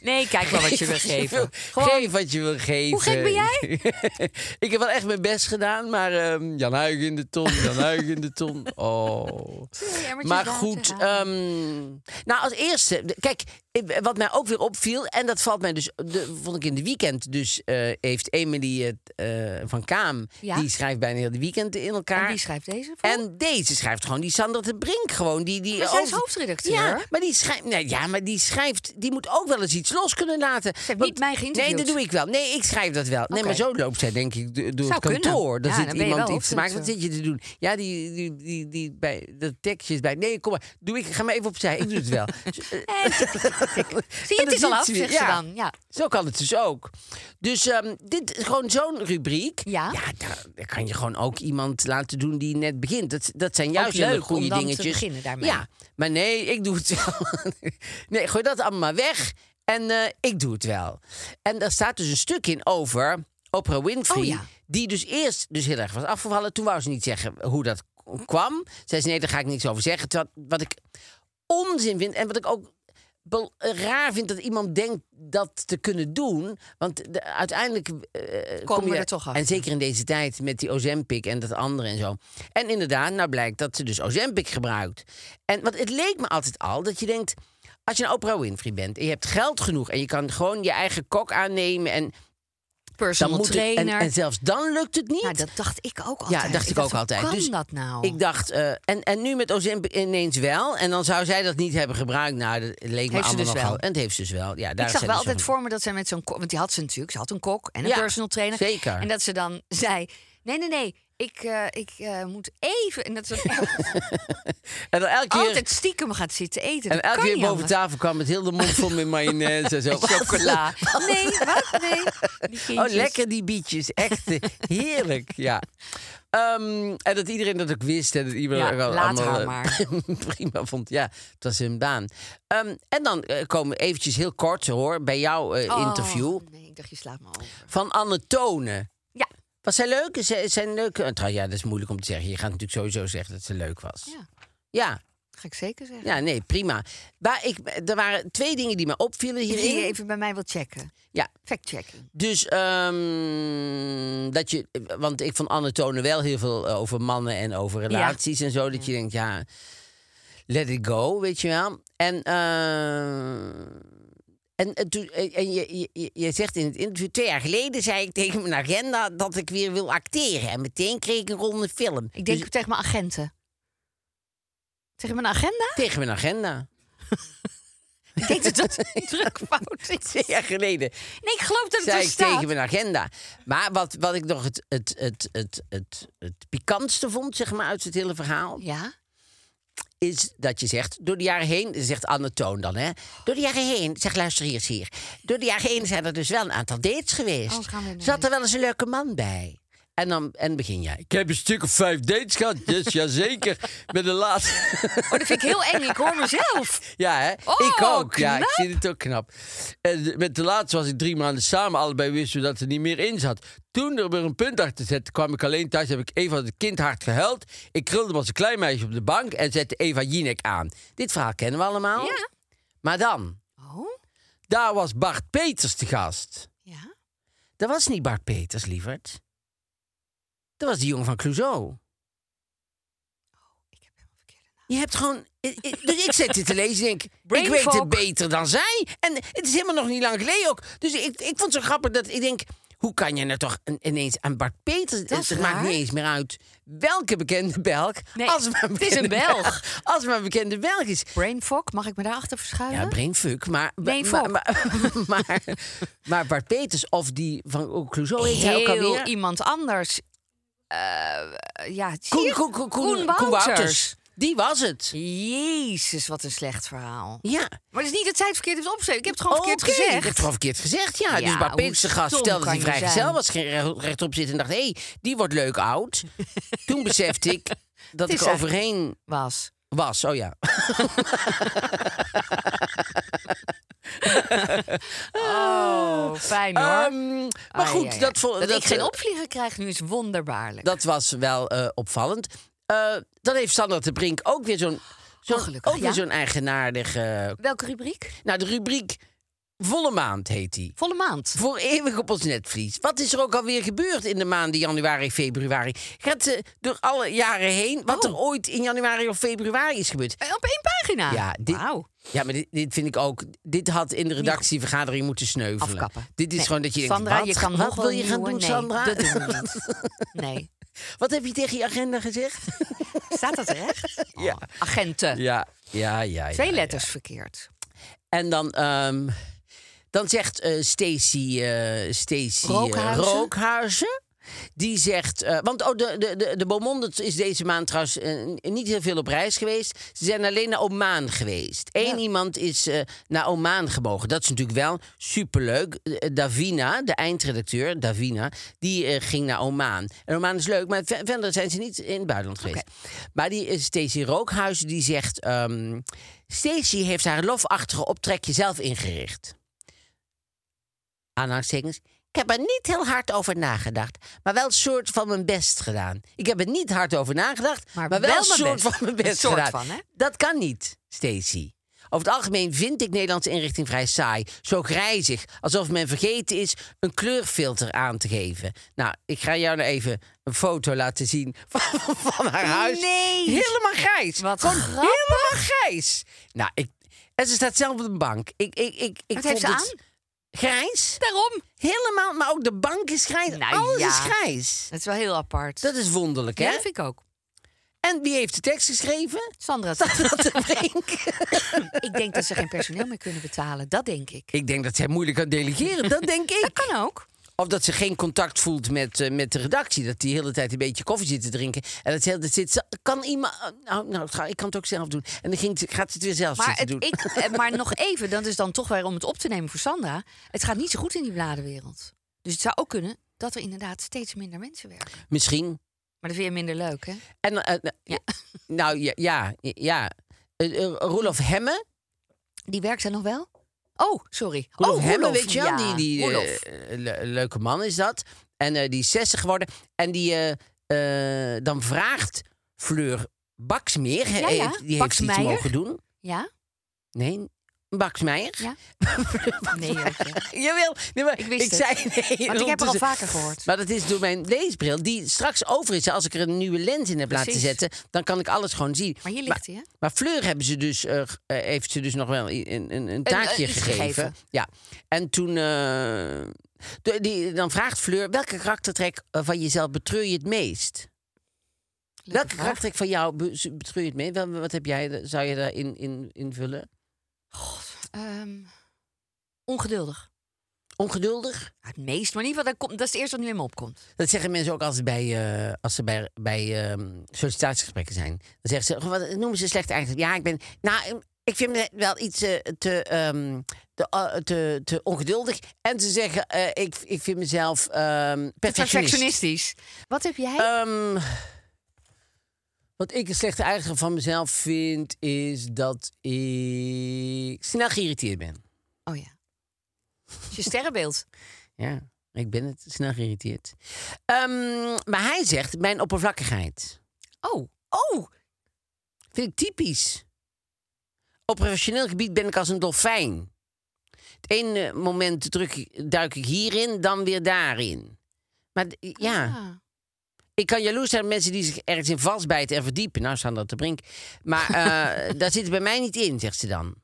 [SPEAKER 3] Nee, kijk maar wat je wil geven. Gewoon,
[SPEAKER 4] Geef wat je wil geven.
[SPEAKER 3] Hoe gek ben jij?
[SPEAKER 4] ik heb wel echt mijn best gedaan, maar ehm, Jan Huig in de ton, Jan Huig in de ton. Oh.
[SPEAKER 3] emmertjes
[SPEAKER 4] Maar
[SPEAKER 3] daar
[SPEAKER 4] goed,
[SPEAKER 3] tegenaan.
[SPEAKER 4] ehm, nou als eerste, de- kijk, Ik- Wat mij ook weer opviel, en dat valt mij dus, de, vond ik in de weekend, dus eh, heeft Emily het, eh, van Kaam,
[SPEAKER 3] Ja.
[SPEAKER 4] die schrijft bijna heel de weekend in elkaar.
[SPEAKER 3] En wie schrijft deze voor?
[SPEAKER 4] En deze schrijft gewoon die Sandra de Brink. Gewoon die, die
[SPEAKER 3] Oh, Maar zij is
[SPEAKER 4] over-
[SPEAKER 3] hoofdredacteur.
[SPEAKER 4] Ja, maar die schrijft. Nee, ja, maar die schrijft. Die moet ook wel eens iets los kunnen laten. Ze
[SPEAKER 3] heeft niet mij geïnterviewd.
[SPEAKER 4] Nee, dat doe ik wel. Nee, ik schrijf dat wel. Nee,
[SPEAKER 3] Oké.
[SPEAKER 4] maar zo loopt zij, denk ik, do- door
[SPEAKER 3] Zou
[SPEAKER 4] het
[SPEAKER 3] kunnen. Ja,
[SPEAKER 4] kantoor. Dan
[SPEAKER 3] dan
[SPEAKER 4] zit
[SPEAKER 3] ben je
[SPEAKER 4] iemand
[SPEAKER 3] wel
[SPEAKER 4] iets te maken. Wat zit je
[SPEAKER 3] hoofdredacteur.
[SPEAKER 4] te doen? Ja, die, die, die, die bij dat tekstje is bij. Nee, kom maar. Doe ik. Ga maar even opzij. Ik doe het wel.
[SPEAKER 3] En tik, tik, tik. Zie je, het
[SPEAKER 4] En dan
[SPEAKER 3] is al
[SPEAKER 4] zit
[SPEAKER 3] af,
[SPEAKER 4] ze weer.
[SPEAKER 3] zegt ze
[SPEAKER 4] Ja.
[SPEAKER 3] dan. Ja.
[SPEAKER 4] Zo kan het dus ook. Dus ehm, dit is gewoon zo'n rubriek.
[SPEAKER 3] Ja.
[SPEAKER 4] daar, daar kan je gewoon ook iemand laten doen die net begint. Dat, dat zijn juist hele
[SPEAKER 3] leuk
[SPEAKER 4] goede
[SPEAKER 3] om dan te
[SPEAKER 4] dingetjes.
[SPEAKER 3] beginnen daarmee.
[SPEAKER 4] Ja, maar nee, ik doe het wel. nee, gooi dat allemaal maar weg en eh, ik doe het wel. En daar staat dus een stuk in over Oprah Winfrey.
[SPEAKER 3] Oh ja.
[SPEAKER 4] Die dus eerst dus heel erg was afgevallen. Toen wou ze niet zeggen hoe dat k- kwam. Zij zei, nee, daar ga ik niks over zeggen. Terwijl, wat ik onzin vind en wat ik ook bel- raar vind dat iemand denkt dat te kunnen doen. Want de- uiteindelijk eh,
[SPEAKER 3] Komen
[SPEAKER 4] kom je
[SPEAKER 3] we er toch achter.
[SPEAKER 4] En zeker in deze tijd met die Ozempic en dat andere en zo. En inderdaad, nou blijkt dat ze dus Ozempic gebruikt. En want het leek me altijd al dat je denkt... als je een Oprah Winfrey bent en je hebt geld genoeg... en je kan gewoon je eigen kok aannemen en dan
[SPEAKER 3] Personal
[SPEAKER 4] moet het- en,
[SPEAKER 3] trainer.
[SPEAKER 4] en zelfs dan lukt het niet.
[SPEAKER 3] nou, dat dacht ik ook altijd.
[SPEAKER 4] Ja, dacht ik, ook
[SPEAKER 3] hoe
[SPEAKER 4] altijd.
[SPEAKER 3] kan
[SPEAKER 4] dus
[SPEAKER 3] dat nou?
[SPEAKER 4] Ik dacht, eh, en, en nu met Ozempic ineens wel. En dan zou zij dat niet hebben gebruikt. Nou, dat leek me
[SPEAKER 3] Heeft ze
[SPEAKER 4] allemaal
[SPEAKER 3] dus
[SPEAKER 4] nogal.
[SPEAKER 3] wel.
[SPEAKER 4] En het heeft ze dus wel. Ja, daar
[SPEAKER 3] ik
[SPEAKER 4] zijn
[SPEAKER 3] zag
[SPEAKER 4] ze
[SPEAKER 3] wel altijd
[SPEAKER 4] van-
[SPEAKER 3] voor me dat zij met zo'n kok... Want die had ze natuurlijk. Ze had een kok en een
[SPEAKER 4] Ja,
[SPEAKER 3] personal trainer.
[SPEAKER 4] zeker.
[SPEAKER 3] En dat ze dan zei... Nee, nee, nee. Ik, eh, ik eh, moet even... En dat ze dan
[SPEAKER 4] En dan elke keer,
[SPEAKER 3] altijd stiekem gaat zitten eten.
[SPEAKER 4] en
[SPEAKER 3] Dat
[SPEAKER 4] elke
[SPEAKER 3] kan
[SPEAKER 4] keer
[SPEAKER 3] niet
[SPEAKER 4] boven
[SPEAKER 3] anders.
[SPEAKER 4] tafel kwam met heel de mond vol met mayonaise en zo.
[SPEAKER 3] En chocola. Nee, wat? Nee. Die
[SPEAKER 4] Oh,
[SPEAKER 3] kindjes.
[SPEAKER 4] lekker die bietjes. Echt eh, heerlijk, ja. Ehm, en dat iedereen dat ook wist. En dat iedereen
[SPEAKER 3] Ja,
[SPEAKER 4] ook al
[SPEAKER 3] laat
[SPEAKER 4] allemaal
[SPEAKER 3] haar
[SPEAKER 4] eh,
[SPEAKER 3] maar.
[SPEAKER 4] prima vond. Ja, het was hun baan. Ehm, en dan eh, komen we eventjes heel kort hoor, bij jouw eh,
[SPEAKER 3] Oh,
[SPEAKER 4] interview.
[SPEAKER 3] Nee, ik dacht, je slaat me over.
[SPEAKER 4] Van Anne Tonen.
[SPEAKER 3] Ja.
[SPEAKER 4] Was zij leuk? Is zij, is zij een leuke... eh, Trouw, ja, dat is moeilijk om te zeggen. Je gaat natuurlijk sowieso zeggen dat ze leuk was.
[SPEAKER 3] Ja.
[SPEAKER 4] Ja,
[SPEAKER 3] Ga ik zeker zeggen.
[SPEAKER 4] ja, nee, prima. Maar ik, er waren twee dingen die me opvielen
[SPEAKER 3] Die
[SPEAKER 4] hierin.
[SPEAKER 3] je even bij mij wilt checken.
[SPEAKER 4] Ja,
[SPEAKER 3] Fact-checking.
[SPEAKER 4] dus ehm, dat je... Want ik vond Anne Tonen wel heel veel eh, over mannen en over relaties en zo. Dat je denkt, ja, let it go, weet je wel. En... ehm, en, en, toen- en- en je, je- je, je zegt in het interview, twee jaar geleden zei ik tegen mijn agenda dat ik weer wil acteren. En meteen kreeg ik een ronde film.
[SPEAKER 3] Ik denk
[SPEAKER 4] Dus-
[SPEAKER 3] tegen mijn agenten. Tegen mijn agenda?
[SPEAKER 4] Tegen mijn agenda.
[SPEAKER 3] Ik denk dat dat een drukfout is.
[SPEAKER 4] Twee jaar geleden
[SPEAKER 3] Nee, ik geloof dat het
[SPEAKER 4] zei
[SPEAKER 3] er
[SPEAKER 4] ik
[SPEAKER 3] staat.
[SPEAKER 4] tegen mijn agenda. Maar wat, wat ik nog het, het, het, het, het, het pikantste vond, zeg maar, uit het hele verhaal...
[SPEAKER 3] Ja?
[SPEAKER 4] is dat je zegt, door de jaren heen, zegt Anne Toon dan, hè? Door de jaren heen, zeg luister hier eens hier. Door de jaren heen zijn er dus wel een aantal dates geweest.
[SPEAKER 3] Oh, gaan we naar
[SPEAKER 4] Zat er
[SPEAKER 3] dates.
[SPEAKER 4] wel eens een leuke man bij? En dan en begin jij. Ik heb een stuk of vijf dates gehad, dus jazeker. Met de laatste.
[SPEAKER 3] Oh, dat vind ik heel eng. Ik hoor mezelf.
[SPEAKER 4] Ja, hè?
[SPEAKER 3] Oh,
[SPEAKER 4] ik ook. Ja, ik
[SPEAKER 3] knap.
[SPEAKER 4] vind het ook knap. En de- met de laatste was ik drie maanden samen. Allebei wisten we dat er niet meer in zat. Toen er weer een punt achter zette, kwam ik alleen thuis. Heb ik Eva het kind hard gehuild. Ik krulde hem als een klein meisje op de bank en zette Eva Jinek aan. Dit verhaal kennen we allemaal.
[SPEAKER 3] Ja.
[SPEAKER 4] Maar dan,
[SPEAKER 3] Oh?
[SPEAKER 4] daar was Bart Peters te gast.
[SPEAKER 3] Ja?
[SPEAKER 4] Dat was niet Bart Peters, lieverd. Dat was die jongen van Clouseau.
[SPEAKER 3] Ik heb helemaal verkeerde naam.
[SPEAKER 4] Je hebt gewoon. ik- ik- Dus ik zit dit te lezen en denk.
[SPEAKER 3] Brain
[SPEAKER 4] ik weet
[SPEAKER 3] fog.
[SPEAKER 4] het beter dan zij. En het is helemaal nog niet lang geleden ook. Dus ik, ik vond het zo grappig dat ik denk. Hoe kan je nou toch in- ineens aan Bart Peters...
[SPEAKER 3] Dat is
[SPEAKER 4] het
[SPEAKER 3] raar.
[SPEAKER 4] maakt niet eens meer uit welke bekende Belg...
[SPEAKER 3] Nee,
[SPEAKER 4] als maar
[SPEAKER 3] het is een
[SPEAKER 4] bekende
[SPEAKER 3] Belg.
[SPEAKER 4] Als maar bekende Belg is.
[SPEAKER 3] Brain fog, mag ik me daarachter verschuilen?
[SPEAKER 4] Ja, brainfuck, maar...
[SPEAKER 3] Nee,
[SPEAKER 4] maar,
[SPEAKER 3] fok.
[SPEAKER 4] maar, maar, maar Bart Peters of die van
[SPEAKER 3] Oh,
[SPEAKER 4] Clouseau heet hij ook
[SPEAKER 3] Heel
[SPEAKER 4] alweer?
[SPEAKER 3] iemand anders. Eh, ja, zie
[SPEAKER 4] Koen,
[SPEAKER 3] je?
[SPEAKER 4] Koen, Koen, Koen,
[SPEAKER 3] Koen
[SPEAKER 4] Wouters.
[SPEAKER 3] Wouters.
[SPEAKER 4] Die was het.
[SPEAKER 3] Jezus, wat een slecht verhaal.
[SPEAKER 4] Ja.
[SPEAKER 3] Maar het is niet dat zij het verkeerd heeft opgeschreven. Ik heb het gewoon verkeerd
[SPEAKER 4] Oké,
[SPEAKER 3] gezegd.
[SPEAKER 4] Ik heb het gewoon verkeerd gezegd, ja.
[SPEAKER 3] Ja,
[SPEAKER 4] dus Bart
[SPEAKER 3] hoe
[SPEAKER 4] Peters, de gast,
[SPEAKER 3] stom
[SPEAKER 4] stelde dat
[SPEAKER 3] kan
[SPEAKER 4] hij
[SPEAKER 3] je
[SPEAKER 4] vrijgezel
[SPEAKER 3] zijn?
[SPEAKER 4] was, ging re- rechtop zitten en dacht... hé, hey, die wordt leuk oud. Toen besefte ik dat
[SPEAKER 3] Het
[SPEAKER 4] ik
[SPEAKER 3] is
[SPEAKER 4] er overheen
[SPEAKER 3] Was.
[SPEAKER 4] was. Oh ja.
[SPEAKER 3] Oh, fijn hoor.
[SPEAKER 4] Ehm, maar
[SPEAKER 3] Ah,
[SPEAKER 4] goed,
[SPEAKER 3] ja, ja.
[SPEAKER 4] dat, vo-
[SPEAKER 3] dat, ik geen
[SPEAKER 4] eh,
[SPEAKER 3] opvlieger krijg nu is wonderbaarlijk.
[SPEAKER 4] dat was wel eh, opvallend. Eh, dan heeft Sandra de Brink ook weer zo'n... zo'n-
[SPEAKER 3] Oh, gelukkig,
[SPEAKER 4] ook weer
[SPEAKER 3] ja.
[SPEAKER 4] zo'n eigenaardige...
[SPEAKER 3] Welke rubriek?
[SPEAKER 4] Nou, de rubriek Volle maand heet die.
[SPEAKER 3] Volle maand.
[SPEAKER 4] Voor eeuwig op ons netvlies. Wat is er ook alweer gebeurd in de maanden januari, februari? Gaat ze door alle jaren heen
[SPEAKER 3] Oh.
[SPEAKER 4] wat er ooit in januari of februari is gebeurd?
[SPEAKER 3] Eh, Op één pagina.
[SPEAKER 4] Ja, dit,
[SPEAKER 3] Wauw.
[SPEAKER 4] ja maar dit, dit vind ik ook. Dit had in de redactievergadering moeten sneuvelen.
[SPEAKER 3] Afkappen.
[SPEAKER 4] Dit is
[SPEAKER 3] Nee.
[SPEAKER 4] gewoon dat je denkt:
[SPEAKER 3] Sandra,
[SPEAKER 4] wat,
[SPEAKER 3] je kan
[SPEAKER 4] wat
[SPEAKER 3] nog
[SPEAKER 4] wil
[SPEAKER 3] wel
[SPEAKER 4] je
[SPEAKER 3] een
[SPEAKER 4] gaan
[SPEAKER 3] nieuwe-
[SPEAKER 4] doen,
[SPEAKER 3] nee,
[SPEAKER 4] Sandra?
[SPEAKER 3] dat doen we niet. Nee.
[SPEAKER 4] wat heb je tegen je agenda gezegd?
[SPEAKER 3] Staat dat terecht? Ja. agenten.
[SPEAKER 4] ja, ja, ja.
[SPEAKER 3] Twee
[SPEAKER 4] ja,
[SPEAKER 3] letters verkeerd.
[SPEAKER 4] En dan, ehm, dan zegt eh, Stacy, eh, Stacy eh,
[SPEAKER 3] Rookhuizen?
[SPEAKER 4] Rookhuizen, Die zegt, eh, want oh, de, de, de, de Beaumont is deze maand trouwens eh, niet heel veel op reis geweest. Ze zijn alleen naar Oman geweest. Eén iemand is eh, naar Oman gebogen. Dat is natuurlijk wel superleuk. Eh, Davina, de eindredacteur, Davina, die eh, ging naar Oman. En Oman is leuk, maar ve- verder zijn ze niet in het buitenland geweest. Maar die eh, Stacy Rookhuizen die zegt, ehm Stacy heeft haar lofachtige optrekje zelf ingericht aanhalingstekens. Ik heb er niet heel hard over nagedacht, maar wel een soort van mijn best gedaan. Ik heb er niet hard over nagedacht, maar,
[SPEAKER 3] Maar
[SPEAKER 4] wel
[SPEAKER 3] wel
[SPEAKER 4] een
[SPEAKER 3] mijn best.
[SPEAKER 4] soort van mijn
[SPEAKER 3] Een
[SPEAKER 4] best
[SPEAKER 3] soort
[SPEAKER 4] gedaan.
[SPEAKER 3] van, hè?
[SPEAKER 4] Dat kan niet, Stacy. Over het algemeen vind ik Nederlandse inrichting vrij saai. Zo grijzig, alsof men vergeten is een kleurfilter aan te geven. Nou, ik ga jou nou even een foto laten zien van, van haar huis.
[SPEAKER 3] Nee.
[SPEAKER 4] Helemaal grijs.
[SPEAKER 3] Wat
[SPEAKER 4] Gewoon
[SPEAKER 3] grappig.
[SPEAKER 4] Helemaal grijs. Nou, ik, en ze staat zelf op de bank. Ik, ik, ik, ik
[SPEAKER 3] Wat heeft ze
[SPEAKER 4] vond
[SPEAKER 3] aan?
[SPEAKER 4] het Grijs.
[SPEAKER 3] Daarom.
[SPEAKER 4] Helemaal, maar ook de bank is grijs.
[SPEAKER 3] Nou
[SPEAKER 4] Alles
[SPEAKER 3] ja.
[SPEAKER 4] is grijs.
[SPEAKER 3] Dat is wel heel apart.
[SPEAKER 4] Dat is wonderlijk,
[SPEAKER 3] ja,
[SPEAKER 4] hè?
[SPEAKER 3] dat vind ik ook.
[SPEAKER 4] En wie heeft de tekst geschreven?
[SPEAKER 3] Sandra,
[SPEAKER 4] Dat de Brink.
[SPEAKER 3] ik denk dat ze geen personeel meer kunnen betalen. Dat denk ik.
[SPEAKER 4] Ik denk dat zij moeilijk kan delegeren. Dat denk ik.
[SPEAKER 3] Dat kan ook.
[SPEAKER 4] Of dat ze geen contact voelt met, eh, met de redactie. Dat die de hele tijd een beetje koffie zit te drinken. En dat, ze- dat zit, ze- kan iemand. Nou, nou, ga- ik kan het ook zelf doen. En dan ging, ze- gaat ze het weer zelf
[SPEAKER 3] Maar,
[SPEAKER 4] zitten
[SPEAKER 3] het,
[SPEAKER 4] doen.
[SPEAKER 3] ik, eh, maar nog even, dat is dan toch weer om het op te nemen voor Sandra. Het gaat niet zo goed in die bladenwereld. Dus het zou ook kunnen dat er inderdaad steeds minder mensen werken.
[SPEAKER 4] Misschien.
[SPEAKER 3] Maar dat vind je minder leuk, hè?
[SPEAKER 4] En, eh, eh,
[SPEAKER 3] Ja.
[SPEAKER 4] Nou ja, ja. ja. Eh, eh, Roelof Hemme.
[SPEAKER 3] Die werkt er nog wel? Oh, sorry.
[SPEAKER 4] Roelof
[SPEAKER 3] oh,
[SPEAKER 4] Hemme,
[SPEAKER 3] Roelof,
[SPEAKER 4] weet je wel?
[SPEAKER 3] ja.
[SPEAKER 4] Die, die, eh,
[SPEAKER 3] Roelof.
[SPEAKER 4] le- leuke man is dat. En eh, die is 60 geworden. En die eh, eh, dan vraagt Fleur Baksmeer. hè,
[SPEAKER 3] Ja, ja.
[SPEAKER 4] Die heeft iets
[SPEAKER 3] Baksmeijer.
[SPEAKER 4] mogen doen.
[SPEAKER 3] Ja?
[SPEAKER 4] Nee, Baksmeijer.
[SPEAKER 3] Ja. Nee, Jurkje.
[SPEAKER 4] Jawel, nee, maar
[SPEAKER 3] Ik wist het.
[SPEAKER 4] zei nee.
[SPEAKER 3] Want ik heb er al
[SPEAKER 4] ondertussen-
[SPEAKER 3] vaker gehoord.
[SPEAKER 4] Maar dat is door mijn leesbril, die straks over is. Als ik er een nieuwe lens in heb laten
[SPEAKER 3] Precies.
[SPEAKER 4] zetten, dan kan ik alles gewoon zien.
[SPEAKER 3] Maar hier ligt hij, hè?
[SPEAKER 4] Maar Fleur hebben ze dus, eh, g- eh, heeft ze dus nog wel i- een, een, een taakje
[SPEAKER 3] eh, iets
[SPEAKER 4] gegeven.
[SPEAKER 3] gegeven.
[SPEAKER 4] Ja. En toen. eh, de- die, dan vraagt Fleur: welke karaktertrek eh, van jezelf betreur je het meest?
[SPEAKER 3] Leuke
[SPEAKER 4] welke
[SPEAKER 3] vraag.
[SPEAKER 4] karaktertrek van jou be- betreur je het meest? Wel, Wat heb jij, eh, zou je daarin in, invullen?
[SPEAKER 3] Ehm, ongeduldig.
[SPEAKER 4] Ongeduldig?
[SPEAKER 3] Ja, het meest, maar in ieder geval, dat, komt, dat is het eerste wat nu in me opkomt.
[SPEAKER 4] Dat zeggen mensen ook altijd bij, eh, als ze bij, bij ehm, sollicitatiegesprekken zijn. Dan zeggen ze, "Oh, wat noemen ze slecht eigenlijk? Ja, ik ben, nou, ehm, ik vind me wel iets eh, te, ehm, te, eh, te, te ongeduldig. En ze zeggen, eh, ik, ik vind mezelf ehm perfectionist.
[SPEAKER 3] Perfectionistisch. Wat heb jij?
[SPEAKER 4] Ehm, wat ik een slechte eigenschap van mezelf vind, is dat ik snel geïrriteerd ben.
[SPEAKER 3] oh ja. Dat is Je sterrenbeeld.
[SPEAKER 4] Ja, ik ben het, snel geïrriteerd. Ehm, maar hij zegt, mijn oppervlakkigheid.
[SPEAKER 3] Oh, oh.
[SPEAKER 4] Vind ik typisch. Op professioneel gebied ben ik als een dolfijn. Het ene moment druk ik- duik ik hierin, dan weer daarin. Maar d- ja,
[SPEAKER 3] Ah.
[SPEAKER 4] ik kan jaloers zijn op mensen die zich ergens in vastbijten en verdiepen. Nou, Sandra te Brink. Maar eh, daar zit het bij mij niet in, zegt ze dan.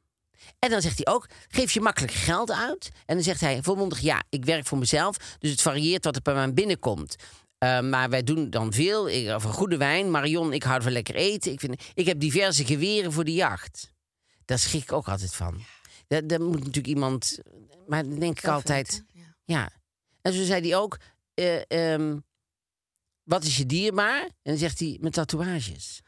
[SPEAKER 4] En dan zegt hij ook, geef je makkelijk geld uit? En dan zegt hij volmondig, ja, ik werk voor mezelf. Dus het varieert wat er bij mij binnenkomt. Eh, maar wij doen dan veel. Ik, van goede wijn. Marion, ik hou van lekker eten. Ik, vind, ik heb diverse geweren voor de jacht. Daar schrik ik ook altijd van. Daar, daar moet natuurlijk iemand... Maar dan denk ik altijd...
[SPEAKER 3] Zelfweten, Ja.
[SPEAKER 4] Ja. En zo zei hij ook: eh, ehm, Wat is je dierbaar? En dan zegt hij: Mijn tatoeages.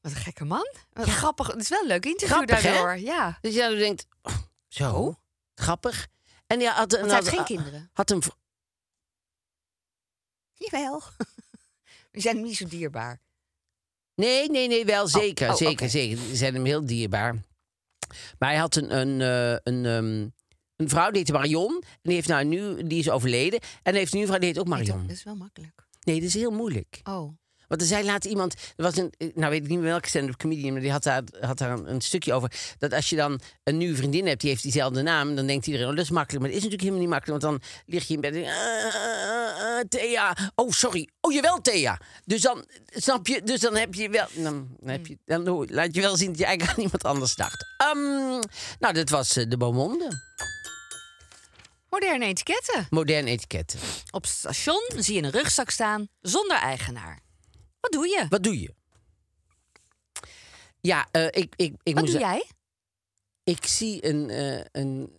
[SPEAKER 3] Wat een gekke man. Wat grappig. Het is wel een leuk interview
[SPEAKER 4] Grappig, hè?
[SPEAKER 3] daardoor. Ja.
[SPEAKER 4] Dus jij denkt: oh, Zo, grappig. En hij had,
[SPEAKER 3] Want hij heeft geen kinderen.
[SPEAKER 4] had een. vr-
[SPEAKER 3] Jawel. Die zijn hem niet zo dierbaar.
[SPEAKER 4] Nee, nee, nee, wel zeker.
[SPEAKER 3] oh,
[SPEAKER 4] zeker,
[SPEAKER 3] oké.
[SPEAKER 4] zeker. Ze zijn hem heel dierbaar. Maar hij had een, een, eh, een, ehm, een vrouw, die heette Marion. En die, heeft nou nu, die is overleden. En hij heeft nu een vrouw, die heet ook
[SPEAKER 3] Nee,
[SPEAKER 4] Marion.
[SPEAKER 3] Dat is wel makkelijk.
[SPEAKER 4] Nee, dat is heel moeilijk.
[SPEAKER 3] Oh.
[SPEAKER 4] Want er zei laatst iemand, er was een, eh, nou weet ik niet meer welke stand-up comedian, maar die had daar, had daar een, een stukje over. Dat als je dan een nieuwe vriendin hebt, die heeft diezelfde naam, dan denkt iedereen, oh dat is makkelijk. Maar dat is natuurlijk helemaal niet makkelijk, want dan lig je in bed en denk je, "Ah, ah, ah, Thea, oh sorry, oh jawel Thea. Dus dan, snap je, dus dan heb je wel, dan, dan heb je, dan ho- laat je wel zien dat je eigenlijk aan iemand anders dacht. Ehm, nou, dat was eh, de Beaumonde.
[SPEAKER 3] Moderne etiketten.
[SPEAKER 4] Modern etiketten.
[SPEAKER 3] Op het station zie je een rugzak staan zonder eigenaar. Wat doe je?
[SPEAKER 4] Wat doe je? Ja, eh, ik, ik, ik
[SPEAKER 3] Wat
[SPEAKER 4] moest...
[SPEAKER 3] doe jij?
[SPEAKER 4] Ik zie een, eh, een.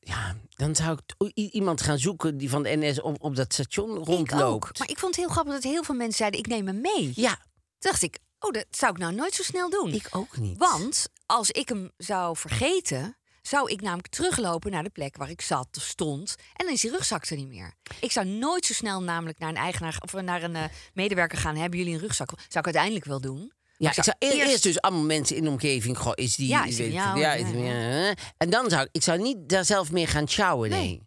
[SPEAKER 4] Ja, dan zou ik t- i- iemand gaan zoeken die van de NS op, op dat station
[SPEAKER 3] Ik ook.
[SPEAKER 4] rondloopt.
[SPEAKER 3] Maar ik vond het heel grappig dat heel veel mensen zeiden: ik neem hem mee. Toen
[SPEAKER 4] Ja,
[SPEAKER 3] dacht ik, oh, dat zou ik nou nooit zo snel doen.
[SPEAKER 4] ik ook niet.
[SPEAKER 3] Want als ik hem zou vergeten, zou ik namelijk teruglopen naar de plek waar ik zat of stond. En dan is die rugzak er niet meer. Ik zou nooit zo snel namelijk naar een eigenaar of naar een eh, medewerker gaan. Hebben jullie een rugzak? Zou ik uiteindelijk wel doen.
[SPEAKER 4] Ja,
[SPEAKER 3] Maar
[SPEAKER 4] ik zou eerst, eerst dus allemaal mensen in de omgeving. Goh, is die.
[SPEAKER 3] Ja, is die
[SPEAKER 4] weet
[SPEAKER 3] van
[SPEAKER 4] ik-
[SPEAKER 3] jou?
[SPEAKER 4] ja, is die- ja. En dan zou ik. Ik zou niet daar zelf meer gaan sjouwen. Nee.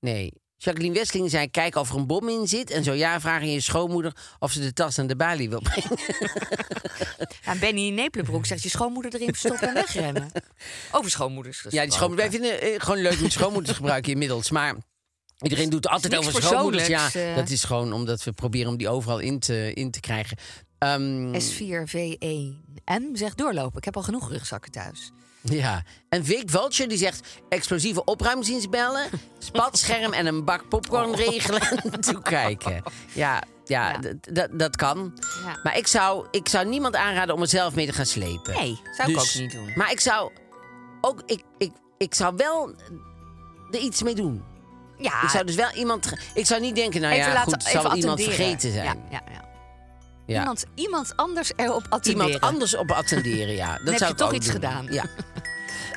[SPEAKER 4] nee. Jacqueline Westling zei: kijk of er een bom in zit. En zo ja, vraag aan je schoonmoeder of ze de tas aan de balie wil brengen.
[SPEAKER 3] En Benny in Nepelenbroek zegt je schoonmoeder erin verstoppen en wegrennen. Over schoonmoeders gesproken.
[SPEAKER 4] Ja, die schoonmoeder, wij vinden eh, gewoon leuk met schoonmoeders gebruiken inmiddels. Maar iedereen doet altijd
[SPEAKER 3] Is niks
[SPEAKER 4] over schoonmoeders. Ja,
[SPEAKER 3] persoonlijks, eh.
[SPEAKER 4] dat is gewoon omdat we proberen om die overal in te, in te krijgen. Ehm,
[SPEAKER 3] S4VEM zegt doorlopen. Ik heb al genoeg rugzakken thuis.
[SPEAKER 4] ja. En Vic Vulture die zegt explosieve opruimdienst bellen, spatscherm en een bak popcorn regelen en toekijken. Ja, ja,
[SPEAKER 3] Oh. Ja.
[SPEAKER 4] d- d- dat kan.
[SPEAKER 3] Ja.
[SPEAKER 4] Maar ik zou, ik zou niemand aanraden om er zelf mee te gaan slepen.
[SPEAKER 3] Nee, zou ik
[SPEAKER 4] Dus-
[SPEAKER 3] ook niet doen.
[SPEAKER 4] Maar ik zou ook, ik, ik, ik zou wel er iets mee doen.
[SPEAKER 3] Ja,
[SPEAKER 4] Ik zou dus wel iemand. ge- Ik zou niet denken, nou
[SPEAKER 3] Ah. even
[SPEAKER 4] ja,
[SPEAKER 3] laten-
[SPEAKER 4] goed, zal
[SPEAKER 3] even
[SPEAKER 4] iemand
[SPEAKER 3] attenderen.
[SPEAKER 4] vergeten zijn.
[SPEAKER 3] Ja, ja, ja.
[SPEAKER 4] Ja.
[SPEAKER 3] Iemand, iemand anders erop attenderen.
[SPEAKER 4] Iemand anders op attenderen, ja. Dat
[SPEAKER 3] heb
[SPEAKER 4] zou
[SPEAKER 3] je
[SPEAKER 4] ik
[SPEAKER 3] toch
[SPEAKER 4] ook
[SPEAKER 3] iets
[SPEAKER 4] doen.
[SPEAKER 3] gedaan.
[SPEAKER 4] Ja.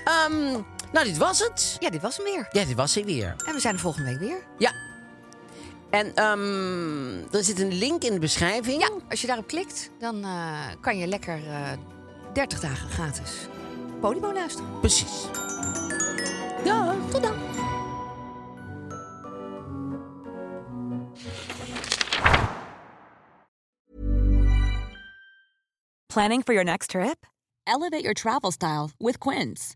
[SPEAKER 4] Ehm, nou, dit was het.
[SPEAKER 3] Ja, dit was hem weer.
[SPEAKER 4] Ja, dit was hij weer.
[SPEAKER 3] En we zijn er volgende week weer.
[SPEAKER 4] Ja. En ehm, er zit een link in de beschrijving.
[SPEAKER 3] Ja, als je daarop klikt, dan eh, kan je lekker eh 30 dagen gratis Podimo luisteren.
[SPEAKER 4] Precies.
[SPEAKER 3] Ja, tot dan.
[SPEAKER 7] Planning for your next trip? Elevate your travel style with Quince.